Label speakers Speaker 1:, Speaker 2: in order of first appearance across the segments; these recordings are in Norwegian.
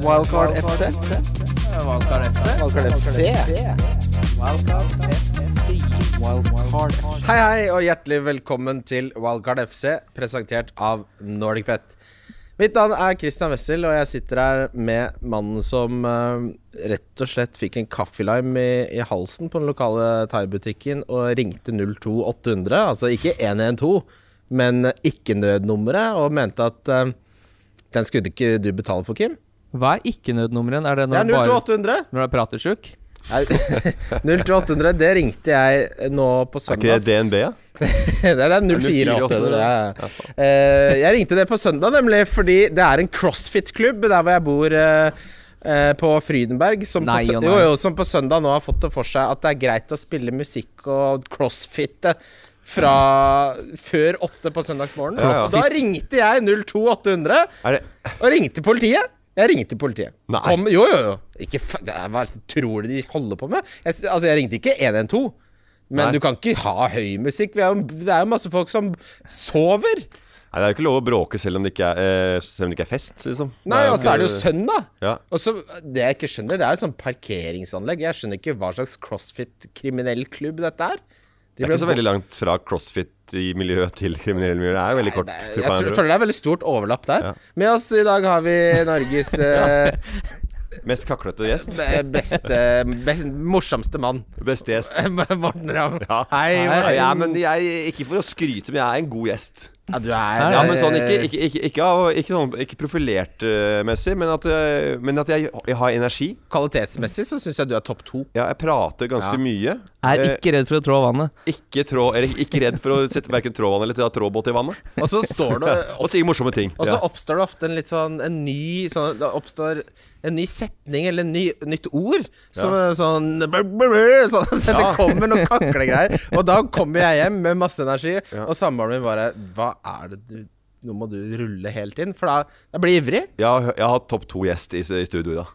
Speaker 1: Wildcard FC.
Speaker 2: Valkar FC.
Speaker 1: Wildcard FC. Wildcard FC.
Speaker 3: Hei, hei, og hjertelig velkommen til Wildcard FC, presentert av Nordic Pet. Mitt navn er Christian Wessel, og jeg sitter her med mannen som eh, rett og slett fikk en kaffelaim i, i halsen på den lokale thaibutikken og ringte 02800, altså ikke 112, men ikke-nødnummeret, og mente at eh, den skulle ikke du betale for, Kim.
Speaker 2: Hva er ikke-nødnummeret? Er det
Speaker 3: Det
Speaker 2: når
Speaker 3: er
Speaker 2: du bare
Speaker 3: 02800!
Speaker 2: når du er pratesjuk?
Speaker 3: Nei, 02800, det ringte jeg nå på
Speaker 4: Er ikke det
Speaker 3: søndag.
Speaker 4: DNB, ja?
Speaker 3: Det er 04800. Ja, ja. Eh, jeg ringte det på søndag, nemlig fordi det er en crossfit-klubb der hvor jeg bor. eh, eh, på Frydenberg, som,
Speaker 2: Nei
Speaker 3: på sø-
Speaker 2: og nei.
Speaker 3: Jo, jo, som på søndag nå har fått det for seg at det er greit å spille musikk og crossfitte fra før åtte på søndagsmorgen.
Speaker 4: Ja, ja.
Speaker 3: Så da ringte jeg 02800
Speaker 4: Er det
Speaker 3: og ringte politiet. Jeg ringte politiet.
Speaker 4: Nei.
Speaker 3: Kom, jo, jo, jo. Ikke, fa- det er- hva tror du de holder på med? Jeg, s- altså, jeg ringte ikke 112. Men
Speaker 4: Nei.
Speaker 3: du kan ikke ha høy musikk. Vi er jo, det er jo masse folk som sover.
Speaker 4: Nei, det er jo ikke lov å bråke selv om det ikke er, eh, selv om det ikke er fest, liksom.
Speaker 3: Nei, Og så er det jo
Speaker 4: ikke-
Speaker 3: søndag.
Speaker 4: Ja.
Speaker 3: Og så, Det jeg ikke skjønner, det er jo sånn parkeringsanlegg. Jeg skjønner ikke hva slags crossfit-kriminell klubb dette er. De
Speaker 4: Det er
Speaker 3: ble
Speaker 4: ikke så
Speaker 3: bo-
Speaker 4: veldig langt fra crossfit i miljøet til kriminelle miljø. Det er jo veldig kort.
Speaker 3: Nei,
Speaker 4: tror
Speaker 3: jeg tror, føler det er veldig stort overlapp der.
Speaker 4: Ja.
Speaker 3: Med oss i dag har vi Norges eh,
Speaker 4: Mest kaklete gjest.
Speaker 3: beste, best, morsomste mann.
Speaker 4: Beste gjest. Mm.
Speaker 3: Morten Ramm.
Speaker 4: Ja.
Speaker 3: Hei, Morten.
Speaker 4: ja, men jeg, ikke for å skryte, men jeg er en god gjest.
Speaker 3: Ja, du
Speaker 2: Nei,
Speaker 3: er
Speaker 4: Ja, men sånn, ikke, ikke, ikke, ikke, av- ikke, sånn, ikke profilert eh, messig, men at, eh, men at jeg, jeg har energi.
Speaker 3: Kvalitetsmessig så syns jeg du er topp to.
Speaker 4: Ja, jeg prater ganske
Speaker 3: Ja.
Speaker 4: mye.
Speaker 2: Er
Speaker 4: Eh,
Speaker 2: ikke redd for å trå vannet.
Speaker 4: ikke, trå, eller, ikke redd for å sette verken trådvann eller ta trådbåt i vannet.
Speaker 3: Og så står det
Speaker 4: Og si morsomme ting.
Speaker 3: Og så
Speaker 4: Ja.
Speaker 3: oppstår det ofte en litt sånn En ny sånn, Det oppstår en ny setning eller en ny, nytt ord. Som er sånn, brr, brr, brr, sånn at Det kommer noen kaklegreier. Og da kommer jeg hjem med masse energi, og samboeren min bare Hva er det du Nå må du rulle helt inn, for da jeg blir jeg ivrig.
Speaker 4: Jeg har, jeg har hatt topp to gjest i, i studio i dag.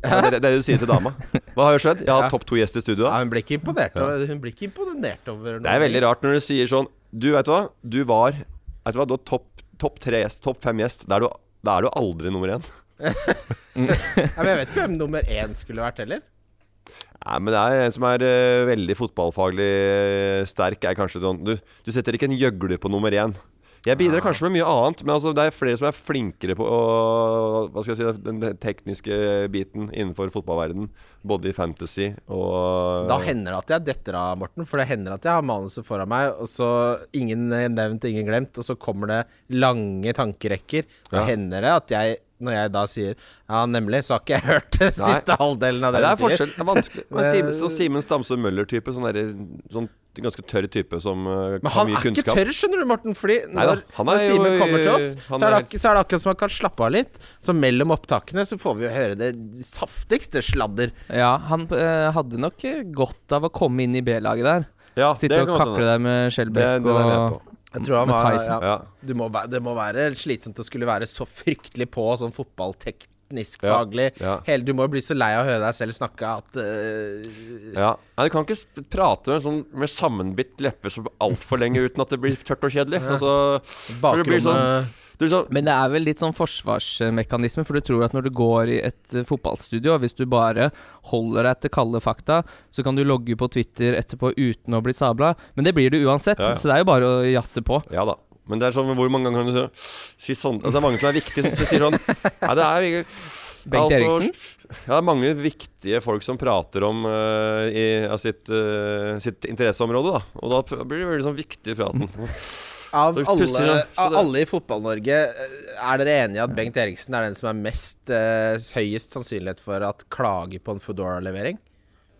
Speaker 4: Ja, det, det er det du sier til dama. Hva har jo skjedd? Jeg har hatt topp to gjest i studio.
Speaker 3: Ja,
Speaker 4: da.
Speaker 3: hun blir ikke imponert over, hun blir ikke imponert over noe.
Speaker 4: Det er veldig rart når du sier sånn Du, vet du hva? Du var vet du hva? Du var topp topp tre gjest, topp fem gjest. Da er du, da er du aldri nummer én.
Speaker 3: Ja, men jeg vet ikke hvem nummer én skulle vært heller.
Speaker 4: Nei, men det er en som er eh, veldig fotballfaglig eh, sterk, er kanskje sånn du, du setter ikke en gjøgler på nummer én. Jeg bidrar kanskje med mye annet, men altså, det er flere som er flinkere på å, hva skal jeg si, den tekniske biten innenfor fotballverden Både i fantasy og
Speaker 3: Da hender det at jeg detter av, Morten. For det hender at jeg har manuset foran meg, og så ingen eh, nevnt, ingen glemt, og så kommer det lange tankerekker. Da
Speaker 4: Ja.
Speaker 3: hender det at jeg, når jeg da sier ja, nemlig, så har ikke jeg hørt den
Speaker 4: Nei.
Speaker 3: siste halvdelen av
Speaker 4: Nei,
Speaker 3: det,
Speaker 4: det
Speaker 3: du
Speaker 4: er
Speaker 3: sier.
Speaker 4: forskjell. Det er vanskelig. Men Simen, sånn Simen Stamsø Møller-type, sånn, derre- sånn ganske tørr type som eh,
Speaker 3: Men
Speaker 4: har
Speaker 3: han
Speaker 4: mye
Speaker 3: er ikke
Speaker 4: kunnskap.
Speaker 3: tørr, skjønner du, Morten. Fordi
Speaker 4: Neida,
Speaker 3: når,
Speaker 4: han er
Speaker 3: når Simen
Speaker 4: jo-
Speaker 3: kommer til oss,
Speaker 4: han
Speaker 3: så er, det
Speaker 4: er-
Speaker 3: akkurat, så er det akkurat som han kan slappe av litt. Så mellom opptakene så får vi jo høre det saftigste sladder.
Speaker 2: Ja, han eh, hadde nok eh, godt av å komme inn i B-laget der.
Speaker 4: Ja, det
Speaker 2: Sitte
Speaker 4: kan
Speaker 2: og
Speaker 4: godt
Speaker 2: kakle
Speaker 4: hende.
Speaker 2: der med
Speaker 4: Det,
Speaker 2: Skjelbæk
Speaker 4: det er jeg med
Speaker 2: og
Speaker 4: på.
Speaker 3: Jeg tror han
Speaker 2: Mm. Med
Speaker 3: var,
Speaker 2: Tyson.
Speaker 3: ja,
Speaker 4: Ja.
Speaker 3: du må, væ- det må være slitsomt å skulle være så fryktelig på sånn fotballteknisk faglig.
Speaker 4: Ja, ja.
Speaker 3: Hele, du må jo bli så lei av å høre deg selv snakke at eh,
Speaker 4: Ja. Nei, du kan ikke sp- prate med, sånn, med sammenbitt leppe så altfor lenge uten at det blir tørt og kjedelig. Altså, for det blir sånn, du blir sånn
Speaker 2: Men det er vel litt sånn forsvarsmekanisme, for du tror at når du går i et eh, fotballstudio, hvis du bare holder deg til kalde fakta, så kan du logge på Twitter etterpå uten å bli sabla. Men det blir du uansett,
Speaker 4: Ja, ja.
Speaker 2: så det er jo bare å jazze på.
Speaker 4: Ja da. Men det er sånn hvor mange ganger kan du så- si sånn altså, Det er mange som er viktige, som sier sånn Nei, det er ikke Altså,
Speaker 2: Bengt Eriksen?
Speaker 4: Ja, det er mange viktige folk som prater om eh, i, ja, sitt, eh, sitt interesseområde, da. Og da p- blir det veldig sånn viktig i praten.
Speaker 3: Av
Speaker 4: Du puster
Speaker 3: alle,
Speaker 4: sånn, så
Speaker 3: av
Speaker 4: det-
Speaker 3: alle i Fotball-Norge, eh, er dere enige at Bengt Eriksen er den som er mest eh, høyest sannsynlighet for at klager på en Foodora-levering?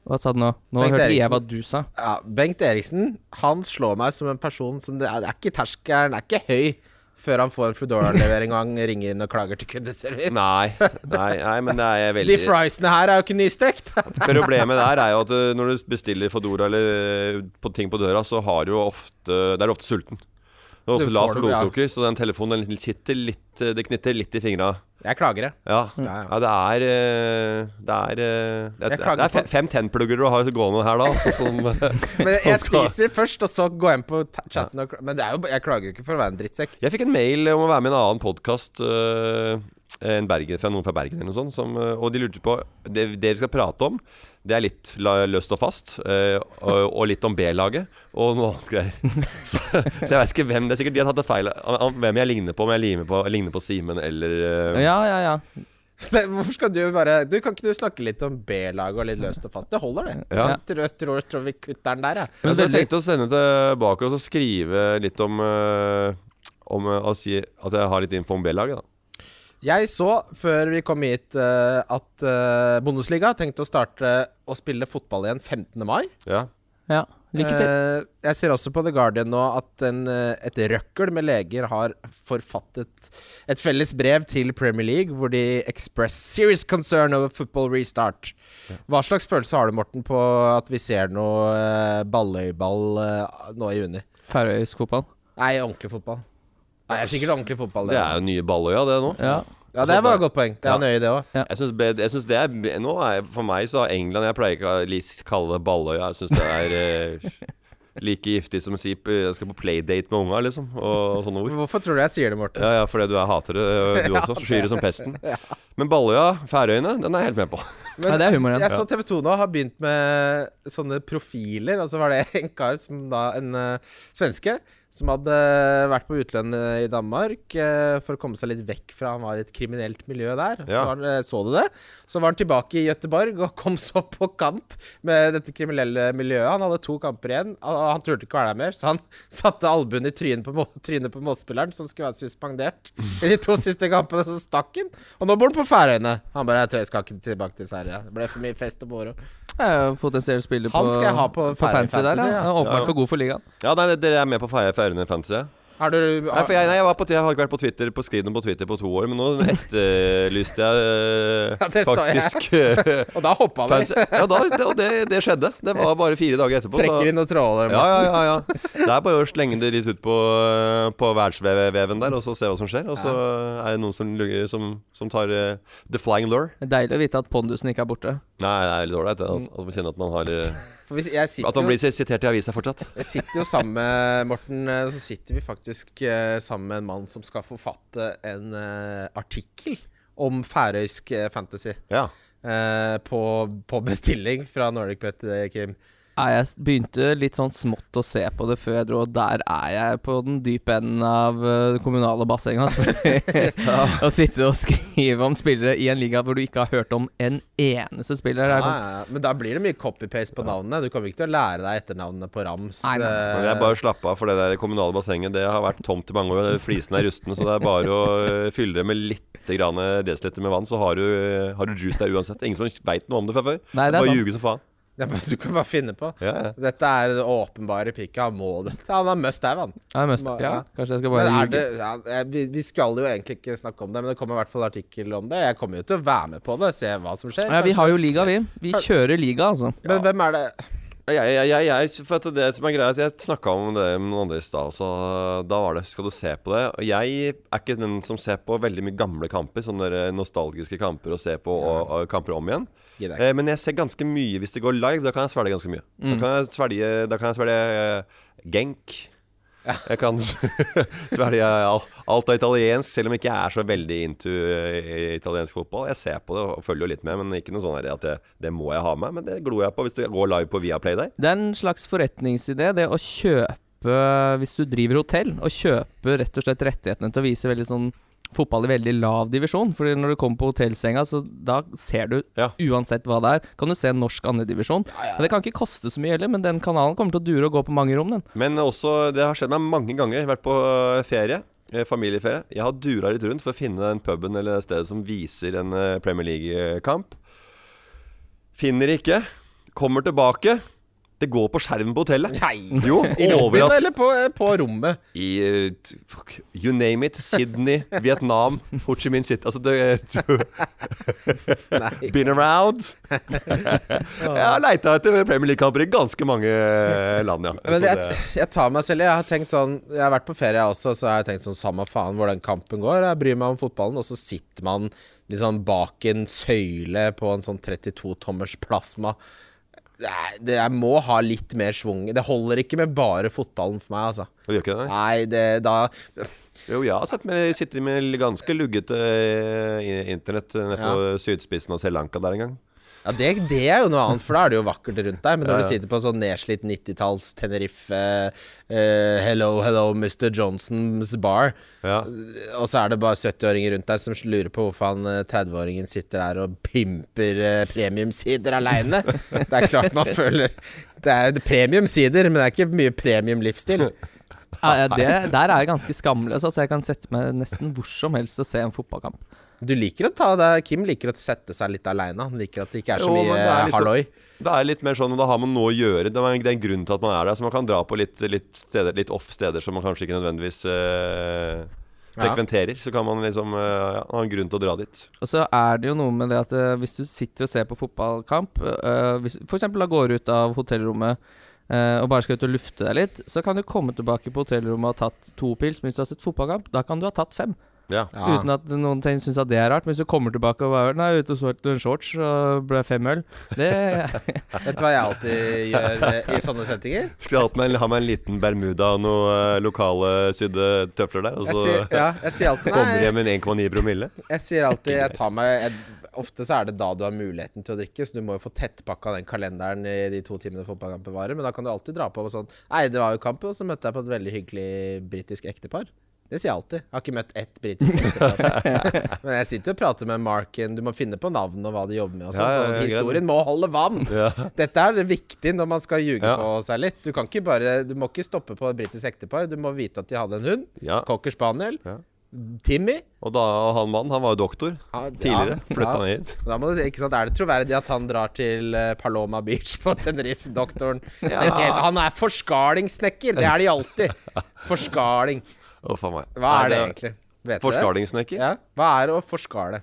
Speaker 2: Hva sa du nå? Nå
Speaker 3: Bengt
Speaker 2: hørte jeg
Speaker 3: Eriksen.
Speaker 2: hva du sa.
Speaker 3: Ja, Bengt Eriksen han slår meg som en person som Det er, det er ikke terskelen, det er ikke høy, før han får en Foodora-levering og han ringer inn og klager til kundeservice.
Speaker 4: Nei, nei, nei, men det er jeg
Speaker 3: De
Speaker 4: veldig
Speaker 3: friesene her er jo ikke nystekt.
Speaker 4: Problemet der er jo at eh, når du bestiller Fodora eller eh, på ting på døra, så har du jo ofte Da er du ofte sulten. Du har
Speaker 3: Det
Speaker 4: ofte lavt
Speaker 3: får du, ja.
Speaker 4: blodsukker, så den telefonen den sitter litt eh, Det knitter litt i fingra.
Speaker 3: Jeg klager, jeg.
Speaker 4: Ja.
Speaker 3: Ja, ja.
Speaker 4: ja, det er eh, Det er eh, Det
Speaker 3: Mm. Jeg
Speaker 4: er,
Speaker 3: klager
Speaker 4: det er
Speaker 3: på-
Speaker 4: fe- fem tennplugger du har gående her da, altså som
Speaker 3: Men jeg
Speaker 4: skal-
Speaker 3: spiser først, og så går jeg inn på ta- chatten og kla- Men det er jo, jeg klager jo ikke for å være en drittsekk.
Speaker 4: Jeg fikk en mail om å være med i en annen podkast eh, en Bergen, fra noen fra Bergen eller noe sånt. Som, eh, og de lurte på det, det vi skal prate om, det er litt la- løst og fast. eh, Og, og litt om B-laget, og noe annet greier. Så, så jeg vet ikke hvem det er. Sikkert de har tatt feil av av hvem jeg ligner på. Om jeg ligner på, ligner på Simen eller eh,
Speaker 2: Ja, ja, ja.
Speaker 3: Men hvorfor skal du bare Du Kan ikke du snakke litt om B-laget og litt løst og fast? Det holder, det.
Speaker 4: Ja.
Speaker 3: Jeg tror, tror, tror vi kutter den der, jeg.
Speaker 4: Men så jeg
Speaker 2: veldig-
Speaker 4: tenkte å sende tilbake og så skrive litt om, eh, om eh, å si at jeg har litt info om B-laget, da.
Speaker 3: Jeg så før vi kom hit eh, at eh, Bundesliga tenkte å starte å spille fotball igjen 15. mai.
Speaker 4: Ja.
Speaker 2: ja. Lykke til.
Speaker 3: Eh, jeg ser også på The Guardian nå at en, eh, et røkkel med leger har forfattet et felles brev til Premier League hvor de express serious concern over football restart. Hva slags følelse har du, Morten, på at vi ser noe eh, balløyball eh, nå i juni?
Speaker 2: Færøysk fotball.
Speaker 3: Nei, ordentlig fotball. Nei, det er sikkert ordentlig fotball.
Speaker 4: Det er jo nye Balløya, det nå.
Speaker 2: Ja.
Speaker 3: ja, det var et godt poeng. Det
Speaker 4: Ja.
Speaker 3: er nøye, det òg.
Speaker 2: Ja.
Speaker 4: Jeg synes, be- jeg synes det er be- Nå er For meg så har England Jeg pleier ikke å li- kalle det Balløya. Jeg syns det er eh, like giftig som å si p- jeg skal på playdate med unga, liksom. Og sånne ord.
Speaker 3: Hvorfor tror du jeg sier det, Morten?
Speaker 4: Ja, ja, fordi du er hater det, eh, du også. Skyr det som pesten. Men Balløya, Færøyene, den er jeg helt med på.
Speaker 3: Men
Speaker 2: Ja, det er humor, ja.
Speaker 3: jeg så TV 2 nå har begynt med sånne profiler, og så var det en kar som da En eh, svenske som hadde eh, vært på utlandet i Danmark eh, for å komme seg litt vekk fra Han var i et kriminelt miljø der. Så,
Speaker 4: Ja.
Speaker 3: var, han- eh, så du det? Så var han tilbake i Gøteborg og kom så på kant med dette kriminelle miljøet. Han hadde to kamper igjen, og og han turte ikke være der mer, så han satte albuen i trynet på, må- trynet på målspilleren, som skulle være suspendert i de to siste kampene, så stakk han. Og nå bor han på Færøyene. Han bare Jeg tør, jeg skal ikke tilbake til Sverige. Det ble for mye fest og moro.
Speaker 2: Jeg er potensiell spiller på,
Speaker 3: Han skal jeg ha på
Speaker 2: på
Speaker 3: Færøy
Speaker 2: fancy der.
Speaker 3: Fantasy,
Speaker 2: Ja.
Speaker 3: ja.
Speaker 2: Han er Åpenbart
Speaker 4: Ja.
Speaker 2: for god for ligaen.
Speaker 4: Ja, nei, dere er med på Færøy- Færøyene Fantasy? ja?
Speaker 3: Har du
Speaker 4: Nei, for jeg, nei, jeg, var på, jeg har ikke vært på Twitter på skriden på Twitter på to år, men nå etterlyste jeg eh,
Speaker 3: Ja, det så jeg.
Speaker 4: faktisk eh,
Speaker 3: Og da hoppa han
Speaker 4: fancy.
Speaker 3: vel.
Speaker 4: Ja, da, det, og det, det skjedde. Det var bare fire dager etterpå. så-
Speaker 3: Trekker inn og tråler.
Speaker 4: Ja, ja, ja, ja. Det er bare å slenge det litt ut på, eh, på verdensveven der, og så se hva som skjer. Og så er det noen som, lugger- som, som tar eh, the flying lure.
Speaker 2: Det er Deilig å vite at pondusen ikke er borte.
Speaker 4: Nei, det er litt ålreit det, altså, at man kjenner at man har eh,
Speaker 3: For hvis, jeg,
Speaker 4: At man
Speaker 3: sitter jo,
Speaker 4: blir sitert i avisa fortsatt.
Speaker 3: jeg sitter jo sammen med Morten eh, Så sitter vi faktisk eh, sammen med en mann som skal forfatte en eh, artikkel om færøysk eh, fantasy.
Speaker 4: Ja.
Speaker 3: eh, på, på bestilling fra Nordic Bet, eh, Kim.
Speaker 2: Nei, jeg s- begynte litt sånn smått å se på det før jeg dro, og der er jeg på den dype enden av eh, det kommunale bassenget. Altså. Å sitte og skrive om spillere i en liga hvor du ikke har hørt om en eneste spiller. Det
Speaker 3: Ja,
Speaker 2: er sånn,
Speaker 3: Ah, ja, ja. Men da blir det mye copy-paste på navnene. Du kommer ikke til å lære deg etternavnene på rams. eh,
Speaker 2: Nei, nei, nei.
Speaker 4: Men jeg bare slapp av for det der kommunale bassenget. Det har vært tomt i mange år. Flisene er rustne, så det er bare å eh, fylle det med litt grann, eh, desiliter med vann, så har du, eh, har du juice der uansett. Ingen som veit noe om det fra før.
Speaker 2: Nei, det er
Speaker 4: bare
Speaker 2: sant.
Speaker 4: ljuge som faen.
Speaker 3: Det er bare- du kan bare finne på.
Speaker 4: Ja, ja.
Speaker 3: Dette er det åpenbare pikket. Han må det. Han er must have, han.
Speaker 2: ja, jeg must, ja,
Speaker 3: Ja.
Speaker 2: kanskje jeg skal
Speaker 3: Men
Speaker 2: bare
Speaker 3: er
Speaker 2: ljuge.
Speaker 3: det, ja, eh, vi, vi skal jo egentlig ikke snakke om det, men det kommer i hvert fall artikkel om det. Jeg kommer jo til å være med på det, se hva som skjer.
Speaker 2: Ja, vi
Speaker 3: kanskje.
Speaker 2: har jo liga, vi. Vi kjører liga, altså.
Speaker 3: Men hvem er det
Speaker 4: Jeg, jeg, jeg, jeg, for at det som er greia er at Jeg snakka om det med noen andre i stad også. Da var det 'skal du se på det'? Og jeg er ikke den som ser på veldig mye gamle kamper. Sånne der eh, nostalgiske kamper å se på og, og kamper om igjen.
Speaker 3: Gidder jeg ikke.
Speaker 4: Eh, men jeg ser ganske mye hvis det går live. Da kan jeg svelge ganske mye. Da kan jeg svelge, da kan jeg svelge eh, Genk. Jeg kan svelge al- alt av italiensk, selv om jeg ikke er så veldig into eh, italiensk fotball. Jeg ser på det og følger jo litt med, men ikke noe sånn her at det, det må jeg ha med. Men det glor jeg på hvis det går live på Viaplay der.
Speaker 2: Det er en slags forretningsidé, det å kjøpe Hvis du driver hotell, å kjøpe rett og slett rettighetene til å vise veldig sånn fotball i veldig lav divisjon. Fordi når du kommer på hotellsenga, så da ser du
Speaker 4: Ja.
Speaker 2: uansett hva det er. Kan du se norsk andredivisjon. Men Det kan ikke koste så mye heller, men den kanalen kommer til å dure og gå på mange rom, den.
Speaker 4: Men også, det har skjedd meg mange ganger. Jeg har vært på øh, ferie. eh, Familieferie. Jeg har dura litt rundt for å finne den puben eller det stedet som viser en eh, Premier League-kamp. Finner ikke. Kommer tilbake. Det går på skjermen på hotellet.
Speaker 3: Nei.
Speaker 4: Jo,
Speaker 3: I lobbyen
Speaker 4: overraskende.
Speaker 3: eller på, eh, på rommet?
Speaker 4: I eh, t- fuck, You name it. Sydney, Vietnam, Ho Chi Minh City. Altså, det Been around. Jeg har leita etter Premier League-kamper i ganske mange eh, land, ja.
Speaker 3: Men
Speaker 4: Så
Speaker 3: jeg, jeg tar meg selv i. Jeg har tenkt sånn Jeg har vært på ferie jeg også, så har jeg tenkt sånn Samme faen hvor den kampen går, jeg bryr meg om fotballen. Og så sitter man liksom bak en søyle på en sånn 32-tommers plasma. Nei, det, jeg må ha litt mer schwung. Det holder ikke med bare fotballen for meg, altså.
Speaker 4: det gjør ikke det? nei?
Speaker 3: Nei, det da
Speaker 4: Jo, jeg har sett med, sittet med ganske luggete eh, internett nede på sydspissen av Sri Lanka der en gang.
Speaker 3: Ja, det, det er jo noe annet, for da er det jo vakkert rundt deg. Men når du sitter på sånn nedslitt 90-talls Tenerife, eh, hello, hello, Mr. Johnsons bar,
Speaker 4: Ja.
Speaker 3: og så er det bare 70-åringer rundt deg som lurer på hvorfor han eh, 30-åringen sitter der og pimper eh, premiumsider aleine. Det er klart man føler Det er premiumsider, men det er ikke mye premiumlivsstil.
Speaker 2: Ja, ja, det, der er jeg ganske skamløs. Altså, jeg kan sette meg nesten hvor som helst og se en fotballkamp.
Speaker 3: Du liker å ta deg Kim liker å sette seg litt aleine. Han liker at det ikke er så
Speaker 4: Jo, men
Speaker 3: mye
Speaker 4: det er liksom-
Speaker 3: halloi.
Speaker 4: Det er litt mer sånn, Da har man noe å gjøre. Det er en- det er en grunn til at man er der. Så man kan dra på litt, litt, steder, litt off steder som man kanskje ikke nødvendigvis eh,
Speaker 3: Ja.
Speaker 4: frekventerer. Så kan man liksom eh, ja, ha en grunn til å dra dit.
Speaker 2: Og så er det jo noe med det at eh, hvis du sitter og ser på fotballkamp, eh, hvis du f.eks. da går ut av hotellrommet eh, og bare skal ut og lufte deg litt, så kan du komme tilbake på hotellrommet og ha tatt to pils. Men hvis du har sett fotballkamp, da kan du ha tatt fem.
Speaker 4: Ja.
Speaker 3: Ja.
Speaker 2: Uten at noen tenker- syns at det er rart. Men hvis du kommer tilbake og bare Nei, jeg er ute og så etter en shorts og ble fem øl Det
Speaker 3: Vet du hva jeg alltid gjør eh, i sånne settinger?
Speaker 4: Skulle hatt meg, en- ha meg en liten bermuda og noen eh, lokale sydde tøfler der, og
Speaker 3: Jeg
Speaker 4: så
Speaker 3: sier, ja, jeg sier alltid
Speaker 4: kommer
Speaker 3: nei.
Speaker 4: hjem med en 1,9 promille.
Speaker 3: Jeg sier alltid jeg tar meg jeg, Ofte så er det da du har muligheten til å drikke, så du må jo få tettpakka den kalenderen i de to timene fotballkampen varer. Men da kan du alltid dra på med sånn Nei, det var jo kamp, og så møtte jeg på et veldig hyggelig britisk ektepar. Det sier jeg alltid. Jeg har ikke møtt ett britisk ektepar. Men jeg sitter og prater med Marken. Du må finne på navn og hva de jobber med. Og sånn,
Speaker 4: Ja, ja, ja,
Speaker 3: så historien
Speaker 4: greit.
Speaker 3: må holde vann! Dette er viktig når man skal ljuge
Speaker 4: Ja.
Speaker 3: på seg litt. Du, kan ikke bare, du må ikke stoppe på et britisk ektepar. Du må vite at de hadde en hund.
Speaker 4: Ja.
Speaker 3: Cocker spaniel.
Speaker 4: Ja.
Speaker 3: Timmy.
Speaker 4: Og da, og han mannen, han var jo doktor
Speaker 3: Ja,
Speaker 4: tidligere.
Speaker 3: ja,
Speaker 4: Flytta
Speaker 3: ja.
Speaker 4: han hit.
Speaker 3: Da må du, ikke sant, Er det troverdig at han drar til eh, Paloma Beach på Tenerife, doktoren? Den ene- Han er forskalingssnekker! Det er de alltid. Forskaling.
Speaker 4: Å, faen meg.
Speaker 3: Hva
Speaker 4: Nei,
Speaker 3: er det egentlig? Vet du det?
Speaker 4: Forskalingssnekker?
Speaker 3: Ja. Hva er å forskale?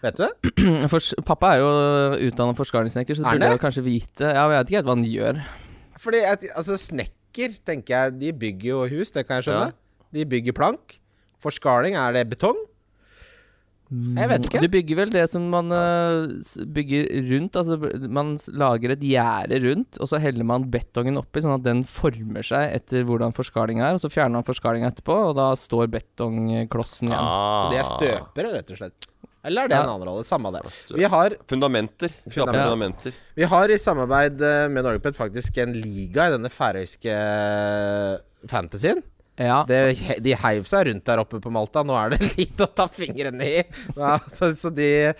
Speaker 3: Vet du det?
Speaker 2: Fors- Pappa er jo utdanna forskalingssnekker, så
Speaker 3: Er
Speaker 2: det burde
Speaker 3: det?
Speaker 2: jeg jo kanskje vite Ja, jeg vet ikke helt hva han gjør.
Speaker 3: Fordi at- altså, snekker, tenker jeg, de bygger jo hus, det kan jeg skjønne.
Speaker 4: Ja.
Speaker 3: De bygger plank. Forskaling, er det betong? Jeg vet ikke.
Speaker 2: Du bygger vel det som man eh, s- bygger rundt. Altså b- man s- lager et gjerde rundt, og så heller man betongen oppi, sånn at den former seg etter hvordan forskalinga er. Og så fjerner man forskalinga etterpå, og da står betongklossen igjen.
Speaker 4: Ah.
Speaker 3: Så de er støpere, rett og slett. Eller er det en annen rolle? Samme det. Vi har
Speaker 4: Fundamenter. Knappe
Speaker 2: Ja.
Speaker 4: fundamenter.
Speaker 3: Vi har i samarbeid eh, med Norgepet faktisk en liga i denne færøyske eh, fantasyen.
Speaker 2: Ja.
Speaker 3: Det, de heiv seg rundt der oppe på Malta. Nå er det litt å ta fingrene i. Ja, så så de,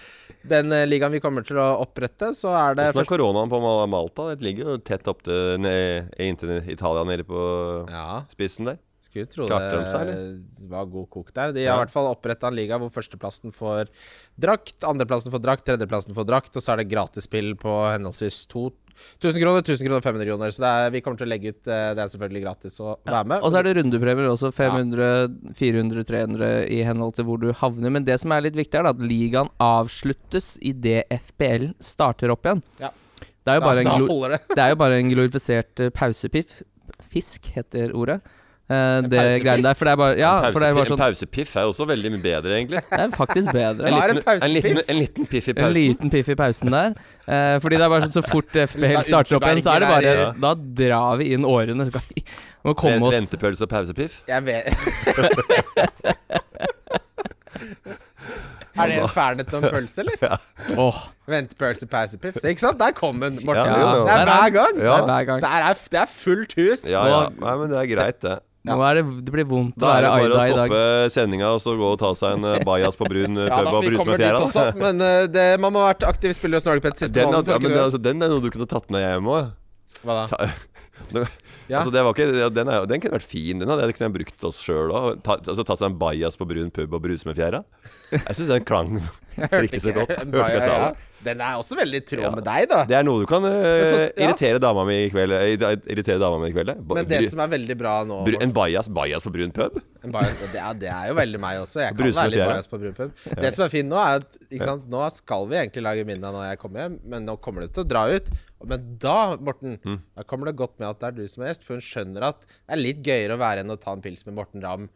Speaker 3: den eh, ligaen vi kommer til å opprette, så er det
Speaker 4: Hvordan er koronaen på Mal- Malta? Det ligger jo tett opp til ned, inntil Italia nede på
Speaker 3: Ja,
Speaker 4: spissen der.
Speaker 3: skulle tro det
Speaker 4: Klarte de seg,
Speaker 3: var god kok der. De har i hvert fall oppretta en liga hvor førsteplassen får drakt, andreplassen får drakt, tredjeplassen får drakt, og så er det gratisspill på henholdsvis to 1000 kroner, 1000 kroner, 500 kroner. Så det er, vi kommer til å legge ut eh, Det er selvfølgelig gratis å være med.
Speaker 2: Og så er det rundepremier også. 500, 400, 300 i henhold til hvor du havner. Men det som er litt viktig, er da at ligaen avsluttes idet FBL starter opp igjen.
Speaker 3: Ja.
Speaker 2: Det er jo bare
Speaker 3: da,
Speaker 2: en
Speaker 3: da
Speaker 2: glo
Speaker 3: holder det.
Speaker 2: Det er jo bare en glorifisert eh, pausepiff. Fisk heter ordet. Eh, det
Speaker 3: pausefisk?
Speaker 2: greiene der. For det er bare Ja,
Speaker 4: Pause,
Speaker 2: for det er bare
Speaker 4: en
Speaker 2: sånn
Speaker 4: pausepiff er jo også veldig mye bedre, egentlig.
Speaker 2: Det er faktisk bedre.
Speaker 3: Hva er en
Speaker 4: en,
Speaker 3: pausepiff?
Speaker 4: liten, en liten piff i
Speaker 2: En
Speaker 4: pausen.
Speaker 2: liten piff i pausen der. Eh, fordi det er bare sånn så fort FBL
Speaker 3: Lilla
Speaker 2: starter opp igjen, så er det bare
Speaker 4: Ukeberger
Speaker 2: Da drar vi inn årene. Skal vi må komme
Speaker 4: Ven-
Speaker 2: oss
Speaker 4: Ventepølse og pausepiff.
Speaker 3: Jeg vet Er det en fernet og en pølse, eller?
Speaker 2: Åh,
Speaker 3: Ventepølse, pausepiff. Ikke sant? Der kom den, Morten.
Speaker 4: Ja,
Speaker 2: jo, jo.
Speaker 3: Det er
Speaker 2: Der er
Speaker 3: hver gang.
Speaker 2: det
Speaker 4: Ja.
Speaker 2: er hver gang.
Speaker 3: Det, er, det er fullt hus.
Speaker 4: Ja, ja. Nei, men det er greit, det.
Speaker 2: Nå er det Det blir vondt å
Speaker 4: Da
Speaker 2: være
Speaker 4: er det bare
Speaker 2: Aida
Speaker 4: å
Speaker 2: i dag.
Speaker 4: stoppe sendinga og så gå og ta seg en eh, bajas på brun eh,
Speaker 3: Ja
Speaker 4: pub
Speaker 3: da,
Speaker 4: og
Speaker 3: vi
Speaker 4: bruse
Speaker 3: kommer
Speaker 4: med
Speaker 3: dit
Speaker 4: fjæra.
Speaker 3: også,
Speaker 4: altså.
Speaker 3: men eh, det, man må ha vært aktiv spiller hos Norge på et siste
Speaker 4: Den,
Speaker 3: måned.
Speaker 4: at-
Speaker 3: for
Speaker 4: ja,
Speaker 3: å
Speaker 4: men,
Speaker 3: kunne-
Speaker 4: altså, den er noe du kunne tatt med hjem òg.
Speaker 3: Hva da? Ja.
Speaker 4: Altså, det var ikke, ja, den, er, jo- den kunne vært fin, den hadde jeg kunne jeg brukt oss sjøl òg. Ta, altså, ta seg en bajas på brun pub og bruse med fjæra. Jeg syns den klang riktig så godt. Hørte ikke jeg sa det.
Speaker 3: Den er også veldig i tråd
Speaker 4: Ja.
Speaker 3: med deg, da.
Speaker 4: Det er noe du kan eh,
Speaker 3: Men så- ja.
Speaker 4: irritere dama mi i kveld. eh, i- Irritere dama mi i kveld. eh. Ba-
Speaker 3: Men det
Speaker 4: bry-
Speaker 3: som er veldig bra nå
Speaker 4: bry- En bajas, bajas på brun pub?
Speaker 3: En Bajas, det, er, det er jo veldig meg også. Jeg kan
Speaker 4: Bruse
Speaker 3: være
Speaker 4: med
Speaker 3: litt
Speaker 4: fjære.
Speaker 3: bajas på brunpub. Det som er fint nå, er at ikke sant, nå skal vi egentlig lage middag når jeg kommer hjem, men nå kommer du til å dra ut. Men da, Morten,
Speaker 4: Mm.
Speaker 3: da kommer det godt med at det er du som er gjest, for hun skjønner at det er litt gøyere å være enn å ta en pils med Morten Ramm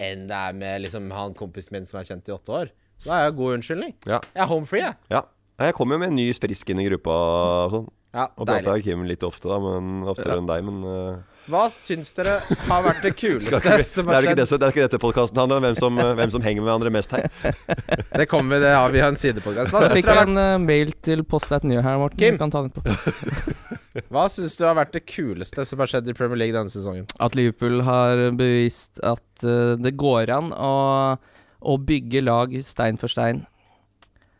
Speaker 3: enn det er med liksom, han kompisen min som er kjent i åtte år. Så da er jeg god unnskyldning.
Speaker 4: Ja.
Speaker 3: Jeg er home free, jeg.
Speaker 4: Ja. Nei, Jeg kommer jo med en ny frisk inn i gruppa og sånn.
Speaker 3: Ja,
Speaker 4: Og
Speaker 3: deilig.
Speaker 4: prater med Kim litt ofte, da, men oftere enn deg, men eh,
Speaker 3: Hva syns dere har vært det
Speaker 4: Skal
Speaker 3: kuleste
Speaker 4: ikke, vi-
Speaker 3: som
Speaker 4: det er
Speaker 3: har
Speaker 4: jo ikke,
Speaker 3: skjedd?
Speaker 4: det, som- det er ikke dette podkasten handler om, hvem som, eh, hvem som henger med hverandre mest her.
Speaker 3: Det kommer vi, det har vi har en sidepodkast. Hva
Speaker 2: Jeg
Speaker 3: syns
Speaker 2: fikk
Speaker 3: dere har vært
Speaker 2: en eh, mail til postatnjø her, Morten.
Speaker 3: Kim.
Speaker 2: Du kan ta den på.
Speaker 3: Hva syns du har vært det kuleste som har skjedd i Premier League denne sesongen?
Speaker 2: At Liverpool har bevist at eh, det går an å, å bygge lag stein for stein.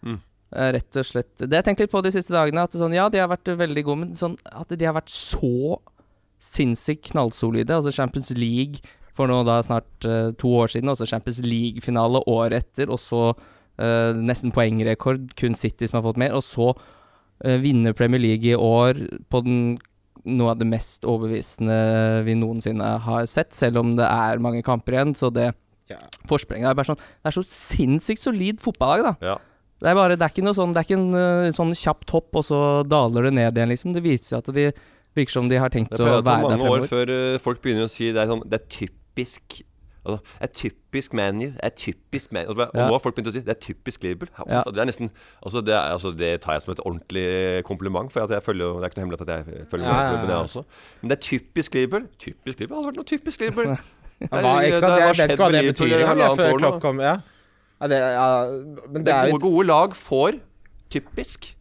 Speaker 4: Mm.
Speaker 2: Eh, Rett og slett. Det har jeg tenkt litt på de siste dagene. At sånn, ja, de har vært veldig gode, men sånn, at de har vært så sinnssykt knallsolide. Altså Champions League for nå da snart eh, to år siden, og så Champions League-finale året etter, og så eh, nesten poengrekord, kun City som har fått mer, og så eh, vinne Premier League i år på den noe av det mest overbevisende vi noensinne har sett, selv om det er mange kamper igjen. Så det
Speaker 3: Ja.
Speaker 2: forsprenget er bare sånn Det er så sinnssykt solid fotballag, da.
Speaker 4: Ja.
Speaker 2: Det er bare, det er ikke noe sånn Det er ikke en eh, sånn kjapt hopp, og så daler det ned igjen, liksom. Det viser jo at de virker som de har tenkt
Speaker 4: Det
Speaker 2: å være
Speaker 4: pleier å ta
Speaker 2: der
Speaker 4: mange år
Speaker 2: fremover.
Speaker 4: før eh, folk begynner å si det er, sånn, det er typisk altså, Det er typisk ManU. Det er typisk Man U. Og så bare- og
Speaker 2: Ja.
Speaker 4: nå har folk begynt å si det er typisk Liverpool. Ja,
Speaker 2: Ja.
Speaker 4: faen, Det er nesten altså det, er, altså det tar jeg som et ordentlig kompliment, for at jeg følger, jo- det er ikke noe hemmelighet at jeg følger
Speaker 3: Ja, ja,
Speaker 4: med
Speaker 3: ja.
Speaker 4: klubben, jeg også. Men det er typisk Liverpool. Typisk Liverpool? Det har vært noe typisk Liverpool. Det er-
Speaker 3: Hva, ikke sant?
Speaker 4: det har
Speaker 3: Jeg vet
Speaker 4: skjedd
Speaker 3: ikke hva
Speaker 4: med
Speaker 3: det betyr
Speaker 4: Liverpool i
Speaker 3: engang, jeg,
Speaker 4: halvannet
Speaker 3: før
Speaker 4: år nå.
Speaker 3: Klopp kom. Ja. Ja, det, ja, men det
Speaker 4: Det
Speaker 3: er
Speaker 4: gode,
Speaker 3: jo
Speaker 4: gode lag får typisk